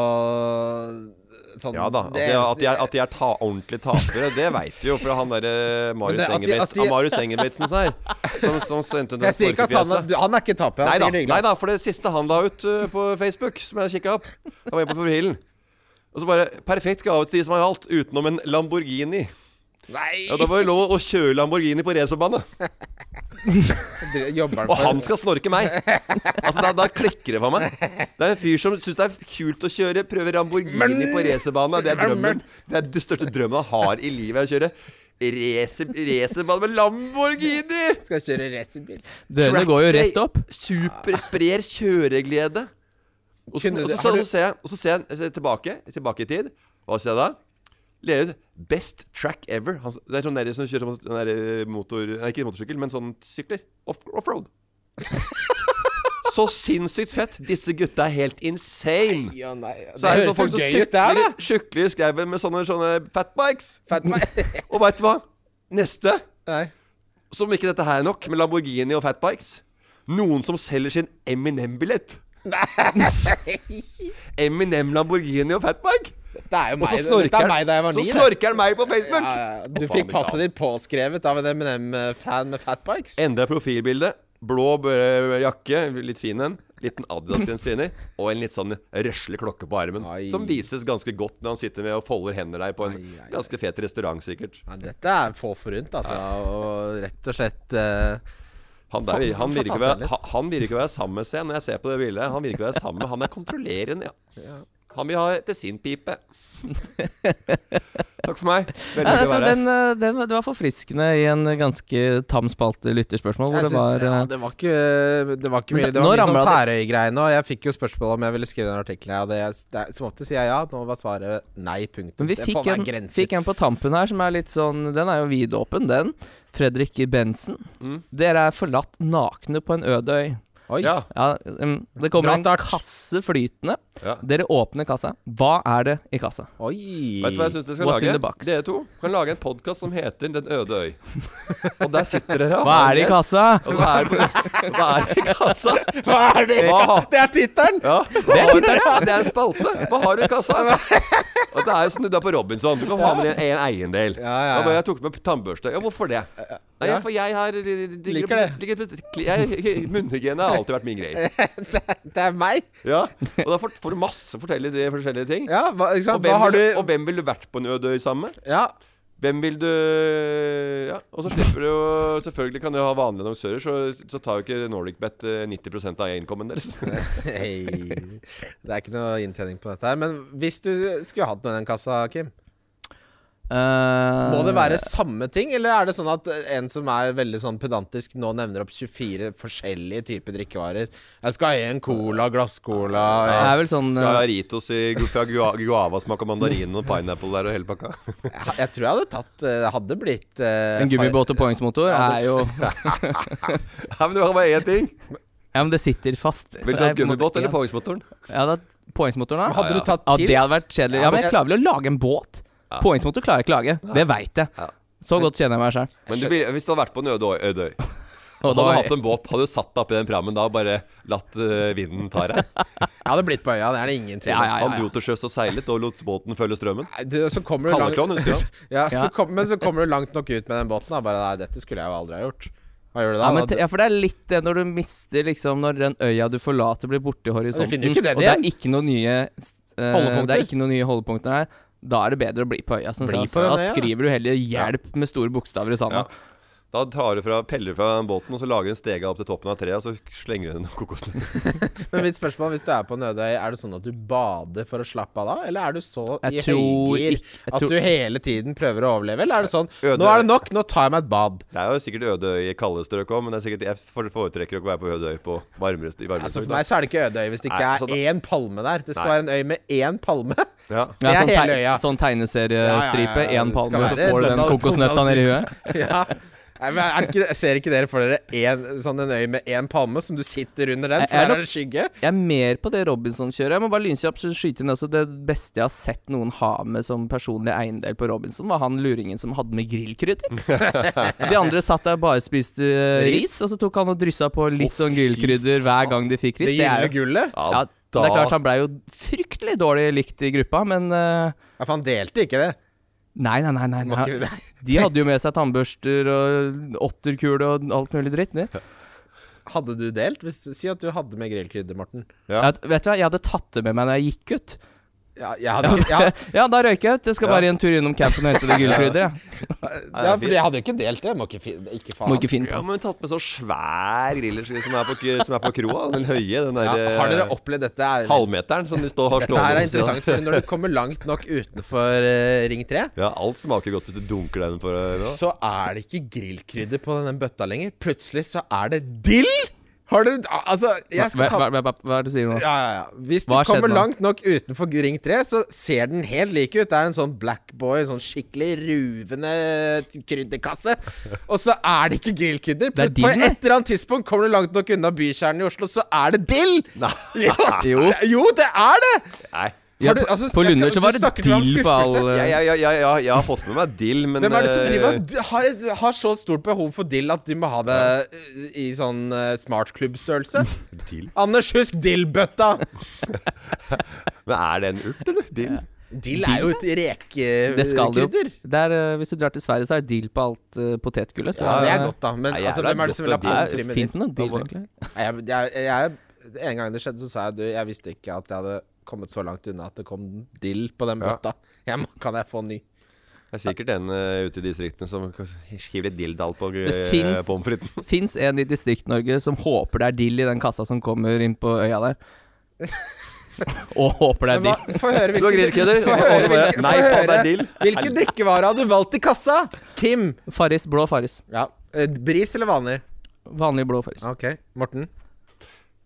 Speaker 3: og sånn
Speaker 4: Ja da. At
Speaker 3: det
Speaker 4: de,
Speaker 3: eneste-
Speaker 4: at de er, at de er ta, ordentlig tapere, det veit vi jo fra han derre Marius
Speaker 3: det- at de- at
Speaker 4: Engebretsen-
Speaker 3: de-
Speaker 4: ah, Marius Engebretsen her. Som, som sendte den
Speaker 3: Jeg sier ikke at han er,
Speaker 4: snorkefjeset.
Speaker 3: du- han er ikke taper.
Speaker 4: Nei
Speaker 3: Han
Speaker 4: da,
Speaker 3: sier det
Speaker 4: nei
Speaker 3: hyggelig.
Speaker 4: da, for det siste han la ut uh, på Facebook, som jeg kikka opp Han var inne på profilen. Og så bare Perfekt gavetid som har alt, utenom en Lamborghini. Ja, Da
Speaker 3: Nei!
Speaker 4: var det lov å kjøre Lamborghini på racerbane.
Speaker 3: Dri- Jobber
Speaker 4: Og
Speaker 3: han
Speaker 4: han
Speaker 3: for
Speaker 4: skal snorke meg! Altså, Da, da klikker det for meg. Det er en fyr som syns det er kult å kjøre, prøver Lamborghini på racerbane. Det er drømmen. Det er den største drømmen han har i livet, å kjøre racer- racerbane med Lamborghini!
Speaker 3: skal kjøre racerbil.
Speaker 2: Dørene
Speaker 4: Track
Speaker 2: går jo
Speaker 4: day,
Speaker 2: rett opp.
Speaker 4: Super, sprer kjøreglede. Og så,
Speaker 3: Kunne
Speaker 4: og
Speaker 3: du-
Speaker 4: så,
Speaker 3: har
Speaker 4: så,
Speaker 3: du-
Speaker 4: så ser jeg, og så ser jeg, jeg ser tilbake, tilbake i tid. Hva ser jeg da? Leder ut 'Best track ever'. Han, det er sånn dere som kjører sånn der motor... Nei, ikke motorsykkel, men sånn sykler. Off- Offroad. så sinnssykt fett. Disse gutta er helt insane.
Speaker 3: Ja, nei, ja.
Speaker 4: Så er det
Speaker 3: høres
Speaker 4: sånn folk som
Speaker 3: gøy ut, det er
Speaker 4: sykler,
Speaker 3: det!
Speaker 4: sykler i skauen med sånne, sånne fatbikes.
Speaker 3: Fat man.
Speaker 4: Og veit du hva? Neste
Speaker 3: Nei.
Speaker 4: som ikke dette her er nok, med Lamborghini og fatbikes. Noen som selger sin Eminem-billett. Eminem, Lamborghini og fatbike.
Speaker 3: Det er jo
Speaker 4: Og
Speaker 3: meg.
Speaker 4: så
Speaker 3: Dette er
Speaker 4: snorker
Speaker 3: meg da jeg
Speaker 4: han
Speaker 3: var
Speaker 4: så
Speaker 3: ni. det.
Speaker 4: snorker han meg på Facebook.
Speaker 3: Ja, ja. Du fikk passet ditt påskrevet av en Eminem-fan eh, med fatbikes.
Speaker 4: Endra profilbilde. Blå bø- jakke, litt fin en. Liten Adidas-genser inni. Og en litt sånn røslig klokke på armen.
Speaker 3: Ai.
Speaker 4: Som vises ganske godt når han sitter med og folder hender der på en
Speaker 3: Ai, ai, ai.
Speaker 4: ganske fet restaurant, sikkert.
Speaker 3: Ja, dette er få forunt, altså. Og rett og slett eh,
Speaker 4: Han, der,
Speaker 3: Faen,
Speaker 4: han,
Speaker 3: faen,
Speaker 4: virker
Speaker 3: faen,
Speaker 4: å være-
Speaker 3: faen, litt.
Speaker 4: ha- han virker ikke å være sammen med seg når jeg ser på det bildet. Han virker å være sammen med Han er kontrollerende, ja. Han vil ha etter sin pipe. Takk for meg. Veldig
Speaker 2: Ja, jeg
Speaker 4: hyggelig å
Speaker 2: tror
Speaker 4: være her.
Speaker 2: den, eh, den, var- det var forforfriskende i en eh, ganske tam spalte lytterspørsmål, hvor
Speaker 3: Jeg
Speaker 2: det
Speaker 3: syns-
Speaker 2: var
Speaker 3: ja,
Speaker 2: eh,
Speaker 3: det var ikke Det var ikke
Speaker 2: Men
Speaker 3: mye
Speaker 2: da-
Speaker 3: Det
Speaker 2: nå
Speaker 3: var mye sånn
Speaker 2: ramlet
Speaker 3: Færøy-greiene, og jeg fikk jo spørsmål om jeg ville skrive den artikkelen. her, Og det, det, er- som ofte sier jeg ja, nå var svaret nei, punktum.
Speaker 2: Men vi
Speaker 3: Det
Speaker 2: fikk
Speaker 3: får være
Speaker 2: en,
Speaker 3: grenser.
Speaker 2: fikk en på tampen her som er litt sånn Den er jo vidåpen, den. Fredrik Bensen. Dere er forlatt nakne på en øde øy.
Speaker 3: Oi.
Speaker 4: Ja.
Speaker 2: Ja, em, det kommer
Speaker 3: Bra
Speaker 2: en
Speaker 3: start.
Speaker 2: kasse flytende.
Speaker 4: Ja.
Speaker 2: Dere åpner kassa. Hva er det i kassa?
Speaker 3: Oi.
Speaker 4: Vet du hva jeg syns dere skal
Speaker 2: What's in the
Speaker 4: lage?
Speaker 2: box?
Speaker 4: Dere to kan lage en podkast som heter Den øde øy. Og der sitter dere og
Speaker 2: Hva
Speaker 4: har
Speaker 2: er det i
Speaker 4: gjest.
Speaker 2: kassa?
Speaker 4: Og hva er det- hva er det i kassa?
Speaker 3: Hva er det?
Speaker 4: Hva?
Speaker 3: Det er tittelen!
Speaker 4: Ja, hva har du, det er en spalte. Hva har du i kassa? Og det er jo snudd av på Robinson. Du kan ha med deg en eiendel.
Speaker 3: Ja, ja, ja.
Speaker 4: Og bare, Jeg tok med tannbørste. Ja, hvorfor det? Nei,
Speaker 3: Ja.
Speaker 4: for jeg har
Speaker 3: Liker det.
Speaker 4: Liker det. Munnhygiene har alltid vært min greie.
Speaker 3: Det er meg!
Speaker 4: Ja. Og da får får du masse forskjellige, de forskjellige ting.
Speaker 3: Ja, hva, ikke
Speaker 4: Og
Speaker 3: sant?
Speaker 4: hvem,
Speaker 3: Hva har du
Speaker 4: vil, og hvem ville vært på en øde øy sammen med?
Speaker 3: Ja.
Speaker 4: Hvem vil du Ja, og så slipper du jo Selvfølgelig kan du ha vanlige annonsører, så, så tar jo ikke NordicBet eh, 90 av innkommen deres.
Speaker 3: Hei. Det er ikke noe inntjening på dette her. Men hvis du skulle hatt noe i den kassa, Kim
Speaker 2: Eh,
Speaker 3: Må det være samme ting, eller er det sånn at en som er veldig sånn pedantisk, nå nevner opp 24 forskjellige typer drikkevarer? Jeg skal ha en cola, glasscola
Speaker 2: Det
Speaker 3: ja.
Speaker 2: er vel sånn
Speaker 4: Skal
Speaker 2: eh,
Speaker 4: ha Ritos i gu- fra gua- guava, smak av mandarin og pineapple der og hele pakka.
Speaker 3: jeg, jeg tror jeg hadde tatt eh, Hadde blitt eh,
Speaker 2: En gummibåt og påhengsmotor er jo
Speaker 4: Nei, men det var bare én ting.
Speaker 2: Ja, men det sitter fast.
Speaker 4: Vil du ha gummibåt eller påhengsmotoren?
Speaker 2: Ja, da, påhengsmotoren, da?
Speaker 3: Hadde du tatt
Speaker 2: Ja,
Speaker 3: pils?
Speaker 2: det hadde vært kjedelig. Ja,
Speaker 3: Ja,
Speaker 2: men
Speaker 3: men-
Speaker 2: jeg klarer vel å lage en båt? Påhengsmotor klarer jeg ikke å lage. Det veit jeg.
Speaker 4: Ja.
Speaker 2: Så godt kjenner jeg meg sjøl.
Speaker 4: Men du, vil- hvis du hadde vært på en øde øy- øde øy
Speaker 2: Og
Speaker 4: Hadde
Speaker 2: da
Speaker 4: du hatt en båt, hadde du satt deg oppi den prammen da og bare latt eh, vinden ta deg?
Speaker 3: Jeg hadde blitt på øya, det er det ingen tvil
Speaker 2: Ja,
Speaker 3: om.
Speaker 2: ja,
Speaker 4: Han dro til sjøs og seilet og lot båten følge strømmen.
Speaker 3: Nei, du, så kommer du langt
Speaker 4: Kalleklovn, husker du han?
Speaker 3: ja,
Speaker 2: Ja.
Speaker 3: Så kom, Men så kommer du langt nok ut med den båten. Da. Bare nei, dette skulle jeg jo aldri ha gjort. Hva gjør du da?
Speaker 2: ja, men,
Speaker 3: da
Speaker 2: te- ja, for det er litt det når du mister liksom Når den øya du forlater, blir borte i horisonten.
Speaker 3: finner jo ikke den
Speaker 2: og det er
Speaker 3: igjen.
Speaker 2: ikke noen nye eh,
Speaker 3: Holdepunkter.
Speaker 2: Det er ikke noen nye holdepunkter her. Da er det bedre å bli på øya. Sånn,
Speaker 3: Bli
Speaker 2: sett.
Speaker 3: på den
Speaker 2: da
Speaker 3: øya, da.
Speaker 2: skriver du heller 'hjelp' med store bokstaver i sanda.
Speaker 4: Ja. Da tar du fra, peller du fra den båten, og så lager du en stege opp til toppen av treet, og så slenger du den kokosnøtt.
Speaker 3: men mitt spørsmål, hvis du er på Nødøy, er det sånn at du bader for å slappe av da? Eller er du så i
Speaker 2: Jeg tror
Speaker 3: høygir
Speaker 2: ikke- jeg
Speaker 3: at
Speaker 2: tror-
Speaker 3: du hele tiden prøver å overleve? Eller er det sånn
Speaker 4: Øde-
Speaker 3: Nå er det nok, nå tar jeg meg et bad.
Speaker 4: Det er jo sikkert øde øy i kalde strøk òg, men det er sikkert, jeg for- foretrekker jo ikke å være på øde øy på varmere st- i varmere
Speaker 3: Altså
Speaker 4: strøk.
Speaker 3: For
Speaker 4: da.
Speaker 3: meg så er det ikke Ødøy hvis det ikke
Speaker 4: Nei,
Speaker 3: er
Speaker 4: så da-
Speaker 3: én palme der. Det skal
Speaker 4: Nei.
Speaker 3: være en øy med én palme.
Speaker 2: Ja,
Speaker 4: Ja.
Speaker 3: Det er
Speaker 2: sånn, teg-
Speaker 3: hele øya.
Speaker 2: sånn tegneseriestripe,
Speaker 3: Ja, ja, ja,
Speaker 2: én
Speaker 3: det
Speaker 2: palme,
Speaker 3: skal
Speaker 2: så
Speaker 3: være
Speaker 2: får du den
Speaker 3: Donald-
Speaker 2: kokosnøtta
Speaker 3: Donald
Speaker 2: nedi huet.
Speaker 3: ja. Nei, men er det ikke, ser ikke dere for dere en, sånn en øy med én palme som du sitter under den,
Speaker 2: Jeg-
Speaker 3: for
Speaker 2: jeg er
Speaker 3: der
Speaker 2: nok-
Speaker 3: er det skygge?
Speaker 2: Jeg er mer på det Robinson-kjøret. Jeg må bare lynkjapt skyte inn også det beste jeg har sett noen ha med som personlig eiendel på Robinson, var han luringen som hadde med grillkrydder. De andre satt der og bare spiste eh,
Speaker 3: Ris.
Speaker 2: ris, og så tok han og dryssa på litt sånn
Speaker 3: fy
Speaker 2: grillkrydder hver gang de fikk ris.
Speaker 3: Det gylne
Speaker 2: er jo
Speaker 3: gullet?
Speaker 2: ja,
Speaker 4: Ja,
Speaker 2: det er klart
Speaker 4: da
Speaker 2: han blei jo fryktelig dårlig likt i gruppa, men eh,
Speaker 3: Ja, for han delte ikke det.
Speaker 2: nei, nei, nei, nei,
Speaker 3: Det var
Speaker 2: nei.
Speaker 3: ikke-
Speaker 2: De hadde jo med seg tannbørster og otterkule og alt mulig dritt. De.
Speaker 3: Hadde du delt? Hvis, si at du hadde med grillkrydder, Morten.
Speaker 4: Ja.
Speaker 2: Jeg, vet du hva, jeg hadde tatt det med meg da jeg gikk ut.
Speaker 3: Ja, jeg hadde ikke, ja,
Speaker 2: Ja, da røyker jeg ut. Jeg skal
Speaker 4: Ja.
Speaker 2: bare en tur innom campen og hente det grillkrydder, jeg.
Speaker 3: ja, for jeg hadde jo ikke delt det. Må ikke, fi- ikke faen.
Speaker 2: Må ikke finne på.
Speaker 4: ja, men tatt med så svær grillerskive som, er på k- som er på kroa. Den høye, den
Speaker 3: ja,
Speaker 4: der
Speaker 3: har dere
Speaker 4: eh,
Speaker 3: opplevd dette? Er,
Speaker 4: halvmeteren som de står, har
Speaker 3: dette her er
Speaker 4: ved siden av.
Speaker 3: interessant, for når du kommer langt nok utenfor eh, Ring 3
Speaker 4: Ja, alt smaker godt hvis du dunker den eh, på øra.
Speaker 3: så er det ikke grillkrydder på denne bøtta lenger. Plutselig så er det dill! Har du Altså, jeg
Speaker 2: Hva,
Speaker 3: skal ta
Speaker 2: hva, hva, hva, hva er det du sier nå?
Speaker 3: ja, ja, ja. Hvis du
Speaker 2: Hva skjedde
Speaker 3: kommer
Speaker 2: nå?
Speaker 3: langt nok utenfor Ring 3, så ser den helt lik ut. Det er en sånn black boy, sånn skikkelig ruvende krydderkasse. Og så er det ikke grillkrydder.
Speaker 2: Det er
Speaker 3: På
Speaker 2: dill,
Speaker 3: et
Speaker 2: det.
Speaker 3: eller annet tidspunkt kommer du langt nok unna bykjernen i Oslo, så er det dill!
Speaker 4: Nei.
Speaker 3: Jo, det- jo, det er det!
Speaker 4: Nei.
Speaker 3: Har
Speaker 2: Ja,
Speaker 3: du- altså,
Speaker 2: på
Speaker 3: jeg
Speaker 2: Lunder så
Speaker 3: skal- du
Speaker 2: var det
Speaker 3: snakker til ham
Speaker 2: deal på
Speaker 3: skuffelse.
Speaker 2: all
Speaker 4: Jeg, jeg, jeg, jeg, jeg, jeg har fått med meg dill, men
Speaker 3: Hvem er det som
Speaker 4: eh,
Speaker 3: driver, d- har, et- har så stort behov for dill at de må ha det eh, i sånn eh, smartklubbstørrelse?
Speaker 4: Dill?
Speaker 3: Anders, husk dillbøtta!
Speaker 4: Men er det en urt, eller? Dill?
Speaker 3: Dill er jo et
Speaker 2: Det skal det jo.
Speaker 3: rekekrydder.
Speaker 2: Det er, eh, hvis du drar til Sverige, så er det deal på alt eh, potetgullet.
Speaker 3: Ja, det er
Speaker 2: eh,
Speaker 3: godt, da. Men
Speaker 4: Nei,
Speaker 3: altså,
Speaker 4: jævla
Speaker 3: hvem er det som vil ha
Speaker 4: godt
Speaker 3: pommes
Speaker 2: Det
Speaker 4: med
Speaker 2: er
Speaker 3: frites med
Speaker 2: fint
Speaker 3: dill?
Speaker 2: med noe deal,
Speaker 4: Da må-
Speaker 2: egentlig.
Speaker 3: Nei, Jeg, jeg, jeg, en gang det skjedde, så sa jeg du, jeg visste ikke at jeg hadde kommet så langt unna at det kom dill på den
Speaker 4: Ja.
Speaker 3: bøtta. Jeg må, kan jeg få ny?
Speaker 4: Det er sikkert en eh, ute i distriktene som k- hiver litt dilldall på uh,
Speaker 2: Det finnes-
Speaker 4: pommes fritesen.
Speaker 2: Fins en i Distrikt-Norge som håper det er deal i den kassa som kommer inn på øya der. Og håper det
Speaker 3: Men
Speaker 2: er
Speaker 3: hva,
Speaker 2: deal.
Speaker 3: Få høre
Speaker 4: Du har
Speaker 3: hvilke,
Speaker 4: grillkrydder?
Speaker 3: få
Speaker 4: og
Speaker 3: høre
Speaker 4: så bare,
Speaker 3: hvilke-
Speaker 4: Nei,
Speaker 3: få
Speaker 4: faen, det
Speaker 3: høre.
Speaker 4: er dill.
Speaker 3: hvilke drikkevarer har du valgt i kassa? Kim!
Speaker 2: Farris, blå Farris.
Speaker 3: Ja, eh, Bris eller vanlig?
Speaker 2: Vanlig blå Farris.
Speaker 3: Ok, Morten.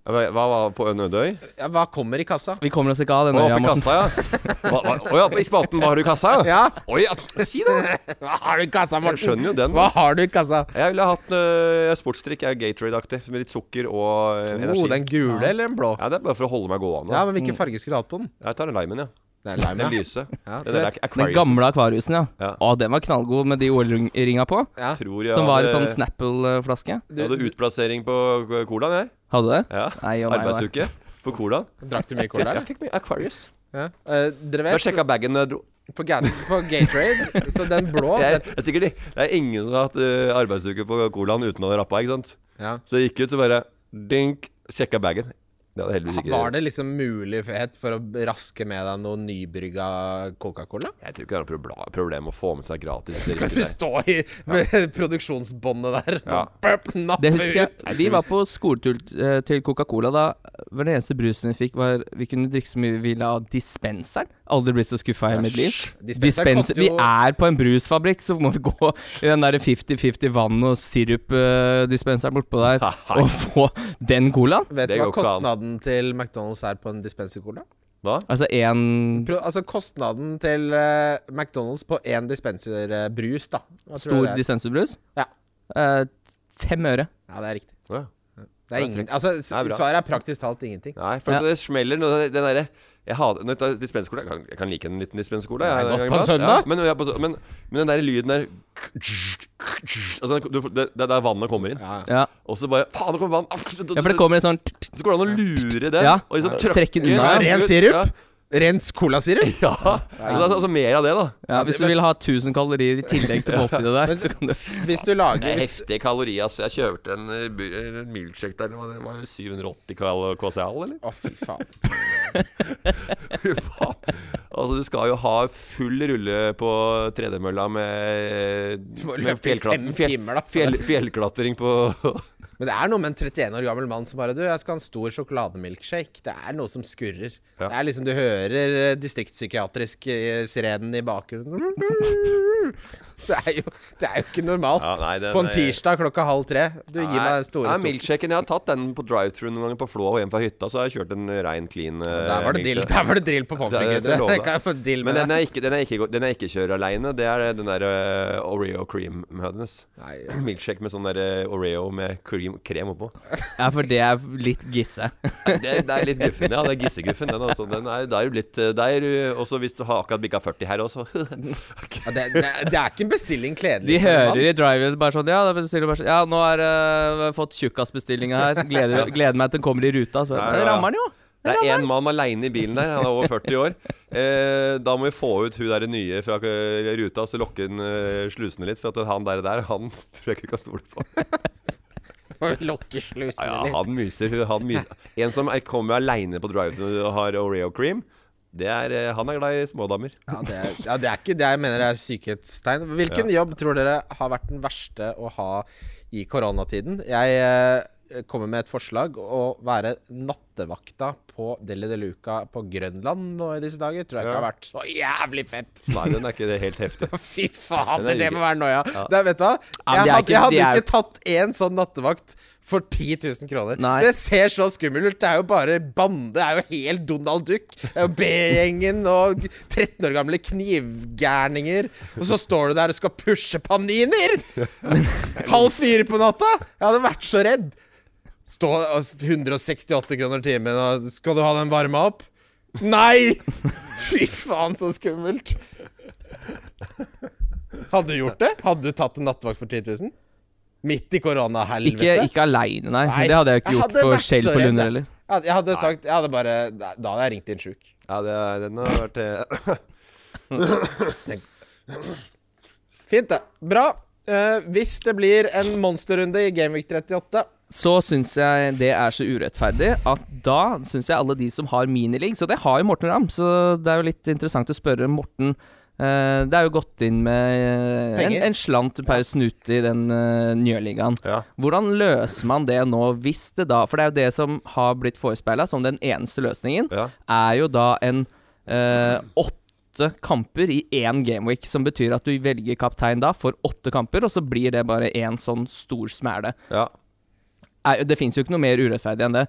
Speaker 4: Hva hva var på en øde øy?
Speaker 3: Ja, hva kommer i kassa?
Speaker 2: Vi kommer oss ikke av
Speaker 4: Å,
Speaker 2: denne øya,
Speaker 4: oppe i
Speaker 2: Morten.
Speaker 4: kassa, ja. Hva- hva- Å ja, i spalten hva har du i kassa?
Speaker 3: Ja.
Speaker 4: Oi, ja, si det.
Speaker 3: Hva har du i kassa,
Speaker 4: Jeg skjønner jo den.
Speaker 3: Hva har du i kassa?
Speaker 4: Jeg ville hatt uh, sportsdrikk. Jeg er Gatorade-aktig, med litt sukker og eh,
Speaker 3: Oh,
Speaker 4: energi.
Speaker 3: den gule eller den blå?
Speaker 4: Ja, Det er bare for å holde meg gående.
Speaker 3: Ja, men hvilken farge skulle du hatt på den?
Speaker 4: Jeg tar den limen, ja.
Speaker 3: Det er lime,
Speaker 4: Den
Speaker 3: ja.
Speaker 4: lyse.
Speaker 3: Ja,
Speaker 4: Den der
Speaker 3: vet-
Speaker 2: Den
Speaker 4: Aquariusen.
Speaker 2: gamle akvariusen, ja.
Speaker 4: Ja.
Speaker 2: Å, den var knallgod med de OL-ringa på.
Speaker 3: ja.
Speaker 4: Tror jeg
Speaker 2: Som var en
Speaker 4: hadde-
Speaker 2: sånn Snapple-flaske.
Speaker 4: Jeg hadde utplassering på k- colaen, jeg.
Speaker 2: Hadde du det?
Speaker 4: Ja.
Speaker 2: Nei, å nei, å nei.
Speaker 4: Arbeidsuke på colaen.
Speaker 3: Drakk du mye cola?
Speaker 4: Jeg fikk mye Aquarius.
Speaker 3: Ja. Eh, dere
Speaker 4: Jeg
Speaker 3: vet,
Speaker 4: sjekka bagen når jeg dro.
Speaker 3: på, Ga- på Gatorade, så den blå
Speaker 4: Det er,
Speaker 3: vet-
Speaker 4: det er sikkert det. Det er ingen som har hatt eh, arbeidsuke på colaen uten å ha rappa, ikke sant?
Speaker 3: ja.
Speaker 4: Så jeg gikk ut, så bare dink, sjekka bagen. Det hadde heldigvis ikke
Speaker 3: Var det liksom mulighet for å raske med deg noe nybrygga Coca-Cola?
Speaker 4: Jeg tror ikke det er noe probla- problem å få med seg gratis.
Speaker 3: Skal du stå i med produksjonsbåndet der
Speaker 4: Ja.
Speaker 3: Burp, nappe
Speaker 2: Det husker jeg.
Speaker 3: ut.
Speaker 2: Vi var på skoletur eh, til Coca-Cola. Da var den eneste brusen vi fikk, var vi kunne drikke så mye vi ville av dispenseren. Aldri blitt så skuffa i hele mitt liv.
Speaker 3: Dispenser koster
Speaker 2: Dispenser Vi
Speaker 3: jo-
Speaker 2: er på en brusfabrikk, så må vi gå i den der 50-50 vann- og sirup-dispenseren bortpå der og få den colaen.
Speaker 3: Vet
Speaker 4: Det
Speaker 3: du hva
Speaker 4: går ikke an.
Speaker 3: kostnaden til McDonald's er på en dispensercola?
Speaker 4: Hva?
Speaker 2: Altså én
Speaker 3: Pro- Altså kostnaden til eh, McDonald's på én dispenserbrus, da. Hva tror du
Speaker 2: stor
Speaker 3: det er?
Speaker 2: dispenserbrus.
Speaker 3: Ja.
Speaker 2: Eh, fem øre.
Speaker 3: Ja, det er riktig.
Speaker 4: Hva?
Speaker 3: Det er ingen, altså, s-
Speaker 4: Det er bra.
Speaker 3: svaret er praktisk talt ingenting.
Speaker 4: Nei, for
Speaker 2: Ja.
Speaker 4: det smeller noe Den derre jeg, hater- når jeg tar dispensercola jeg, kan- jeg kan like en liten dispensercola.
Speaker 3: Det er
Speaker 4: jeg,
Speaker 3: godt
Speaker 4: en gang
Speaker 3: på
Speaker 4: iblant.
Speaker 3: søndag.
Speaker 4: Ja, men, ja, på sø- men, men den der lyden der altså, du, får- det, det er der vannet kommer inn.
Speaker 3: Ja.
Speaker 2: Ja.
Speaker 4: Og så bare Faen, det kommer vann! Ja,
Speaker 2: ja, for det kommer en sånn
Speaker 4: Så går det an å lure den.
Speaker 2: Ja.
Speaker 4: Og liksom
Speaker 2: Ja.
Speaker 4: trøkke
Speaker 2: Trekke den unna.
Speaker 4: ut.
Speaker 3: Ren
Speaker 4: Ja.
Speaker 3: sirup? Rens colasirup?
Speaker 4: Ja. Altså, altså mer av det, da.
Speaker 2: ja, Hvis du vil ha 1000 kalorier i tillegg til måltidet der,
Speaker 3: Men-
Speaker 2: så kan du
Speaker 3: Hvis du lager hvis,
Speaker 4: heftige kalorier, ass. altså. Jeg kjøpte en, eh, bu- en milkshake der. Det var- det var 780 kal KCL, eller?
Speaker 3: Å, fy faen.
Speaker 4: Fy faen. altså, du skal jo ha full rulle på tredemølla med,
Speaker 3: Du må
Speaker 4: med
Speaker 3: løpe i fem
Speaker 4: fjell-
Speaker 3: timer, da.
Speaker 4: fjell, fjellklatring på
Speaker 3: Men det er noe med en 31 år gammel mann som bare Du, jeg skal ha en stor sjokolademilkshake. Det er noe som skurrer.
Speaker 4: Ja.
Speaker 3: Det er liksom Du hører eh, distriktspsykiatrisk eh, sirenen i bakgrunnen. Det er jo, det er jo ikke normalt.
Speaker 4: Ja, nei, den
Speaker 3: På en
Speaker 4: er-
Speaker 3: tirsdag klokka halv tre. Du, gi meg den store
Speaker 4: Nei,
Speaker 3: sukker-
Speaker 4: milkshaken. Jeg har tatt den på drive-through noen ganger på Flå og hjem fra hytta, så har jeg kjørt en rein clean
Speaker 3: Der
Speaker 4: eh,
Speaker 3: var det drill,
Speaker 4: milkshake.
Speaker 3: der var det drill på pommes
Speaker 4: Det er-
Speaker 3: frites.
Speaker 4: det er lov,
Speaker 3: Det
Speaker 4: da.
Speaker 3: kan jeg få deal
Speaker 4: Men
Speaker 3: med.
Speaker 4: den er ikke, den er ikke, den er ikke kjører aleine. Det er den der eh, Oreo cream med hennes.
Speaker 3: Nei,
Speaker 4: Milkshake med sånn der eh, Oreo med cream, krem oppå.
Speaker 2: Ja, for det er litt gisse.
Speaker 4: Det, det er litt guffen, ja. Det er gissegruffen, den. Altså. den er, da er du blitt eh, der. Også hvis du har akkurat bikka 40 her også.
Speaker 3: Ja, det, det, det er ikke en bestilling
Speaker 2: De
Speaker 3: kledelig. for en mann.
Speaker 2: hører i drive-in bare sånn Ja, da bestiller du bare sånn Ja, nå har eh, jeg fått tjukkasbestillinga her. Gleder, gleder meg til den kommer i ruta. Så
Speaker 4: Ja,
Speaker 2: bare, Det
Speaker 4: ja, ja.
Speaker 2: rammer den jo.
Speaker 4: Det er én mann aleine i bilen der. Han er over 40 år. Eh, da må vi få ut hun der nye fra eh, ruta, så lokke den eh, slusene litt. For at han der, der han tror jeg ikke vi kan stole på.
Speaker 3: Får Lokke slusene
Speaker 4: Ja, ja,
Speaker 3: litt.
Speaker 4: han myser. Han myser. En som er, kommer aleine på drive-thru og har Oreo cream, det er, eh, han er glad i smådamer.
Speaker 3: Ja, det er, ja, det er ikke det jeg mener er sykhetstegn. Hvilken jobb tror dere har vært den verste å ha i koronatiden? Jeg eh, kommer med et forslag. Å være nattevakta på Deli de Luca på Grønland nå i disse dager tror jeg ikke
Speaker 4: Ja.
Speaker 3: har vært så jævlig fett.
Speaker 4: Nei, den er ikke det helt heftig.
Speaker 3: Fy faen,
Speaker 4: Den er
Speaker 3: det
Speaker 4: ikke-
Speaker 3: må være noia. Det er- Vet du hva?
Speaker 2: Ja, men
Speaker 3: Jeg hadde,
Speaker 2: det er ikke-
Speaker 3: jeg hadde
Speaker 2: det er-
Speaker 3: ikke tatt én sånn nattevakt for 10 000 kroner.
Speaker 2: Nei.
Speaker 3: Det ser så skummelt ut. Det er jo bare bande. Det er jo helt Donald Duck. Det er jo B-gjengen og 13 år gamle knivgærninger. Og så står du der og skal pushe paniner! Halv fire på natta! Jeg hadde vært så redd. Stå altså, 168 kroner timen, og skal du ha den varma opp? Nei! Fy faen, så skummelt. Hadde du gjort det? Hadde du tatt en nattevakt for 10 000? Midt i koronahelvete?
Speaker 2: Ikke, ikke aleine, nei.
Speaker 3: Nei,
Speaker 2: Det hadde jeg ikke
Speaker 3: jeg
Speaker 2: gjort
Speaker 3: hadde
Speaker 2: på
Speaker 3: vært
Speaker 2: Shell
Speaker 3: så
Speaker 2: på
Speaker 3: redd,
Speaker 2: Lunder
Speaker 3: jeg.
Speaker 2: heller.
Speaker 3: Jeg hadde- Jeg hadde sagt Jeg hadde bare Da da hadde jeg ringt inn sjuk.
Speaker 4: Ja, det er, den har vært eh,
Speaker 3: Fint, det. Bra. Eh, hvis det blir en monsterrunde i Gameweek 38
Speaker 2: Så syns jeg det er så urettferdig at da syns jeg alle de som har miniligg Så det har jo Morten Ramm, så det er jo litt interessant å spørre Morten. eh, det er jo gått inn med eh, en,
Speaker 3: Penger.
Speaker 2: en slant per snute i den uh, njøligaen.
Speaker 4: Ja.
Speaker 2: Hvordan løser man det nå, hvis det da For det er jo det som har blitt forespeila som den eneste løsningen,
Speaker 4: Ja.
Speaker 2: er jo da en eh, åtte kamper i én gameweek. Som betyr at du velger kaptein da for åtte kamper, og så blir det bare én sånn stor smæle.
Speaker 4: ja.
Speaker 2: Er- Det fins jo ikke noe mer urettferdig enn det.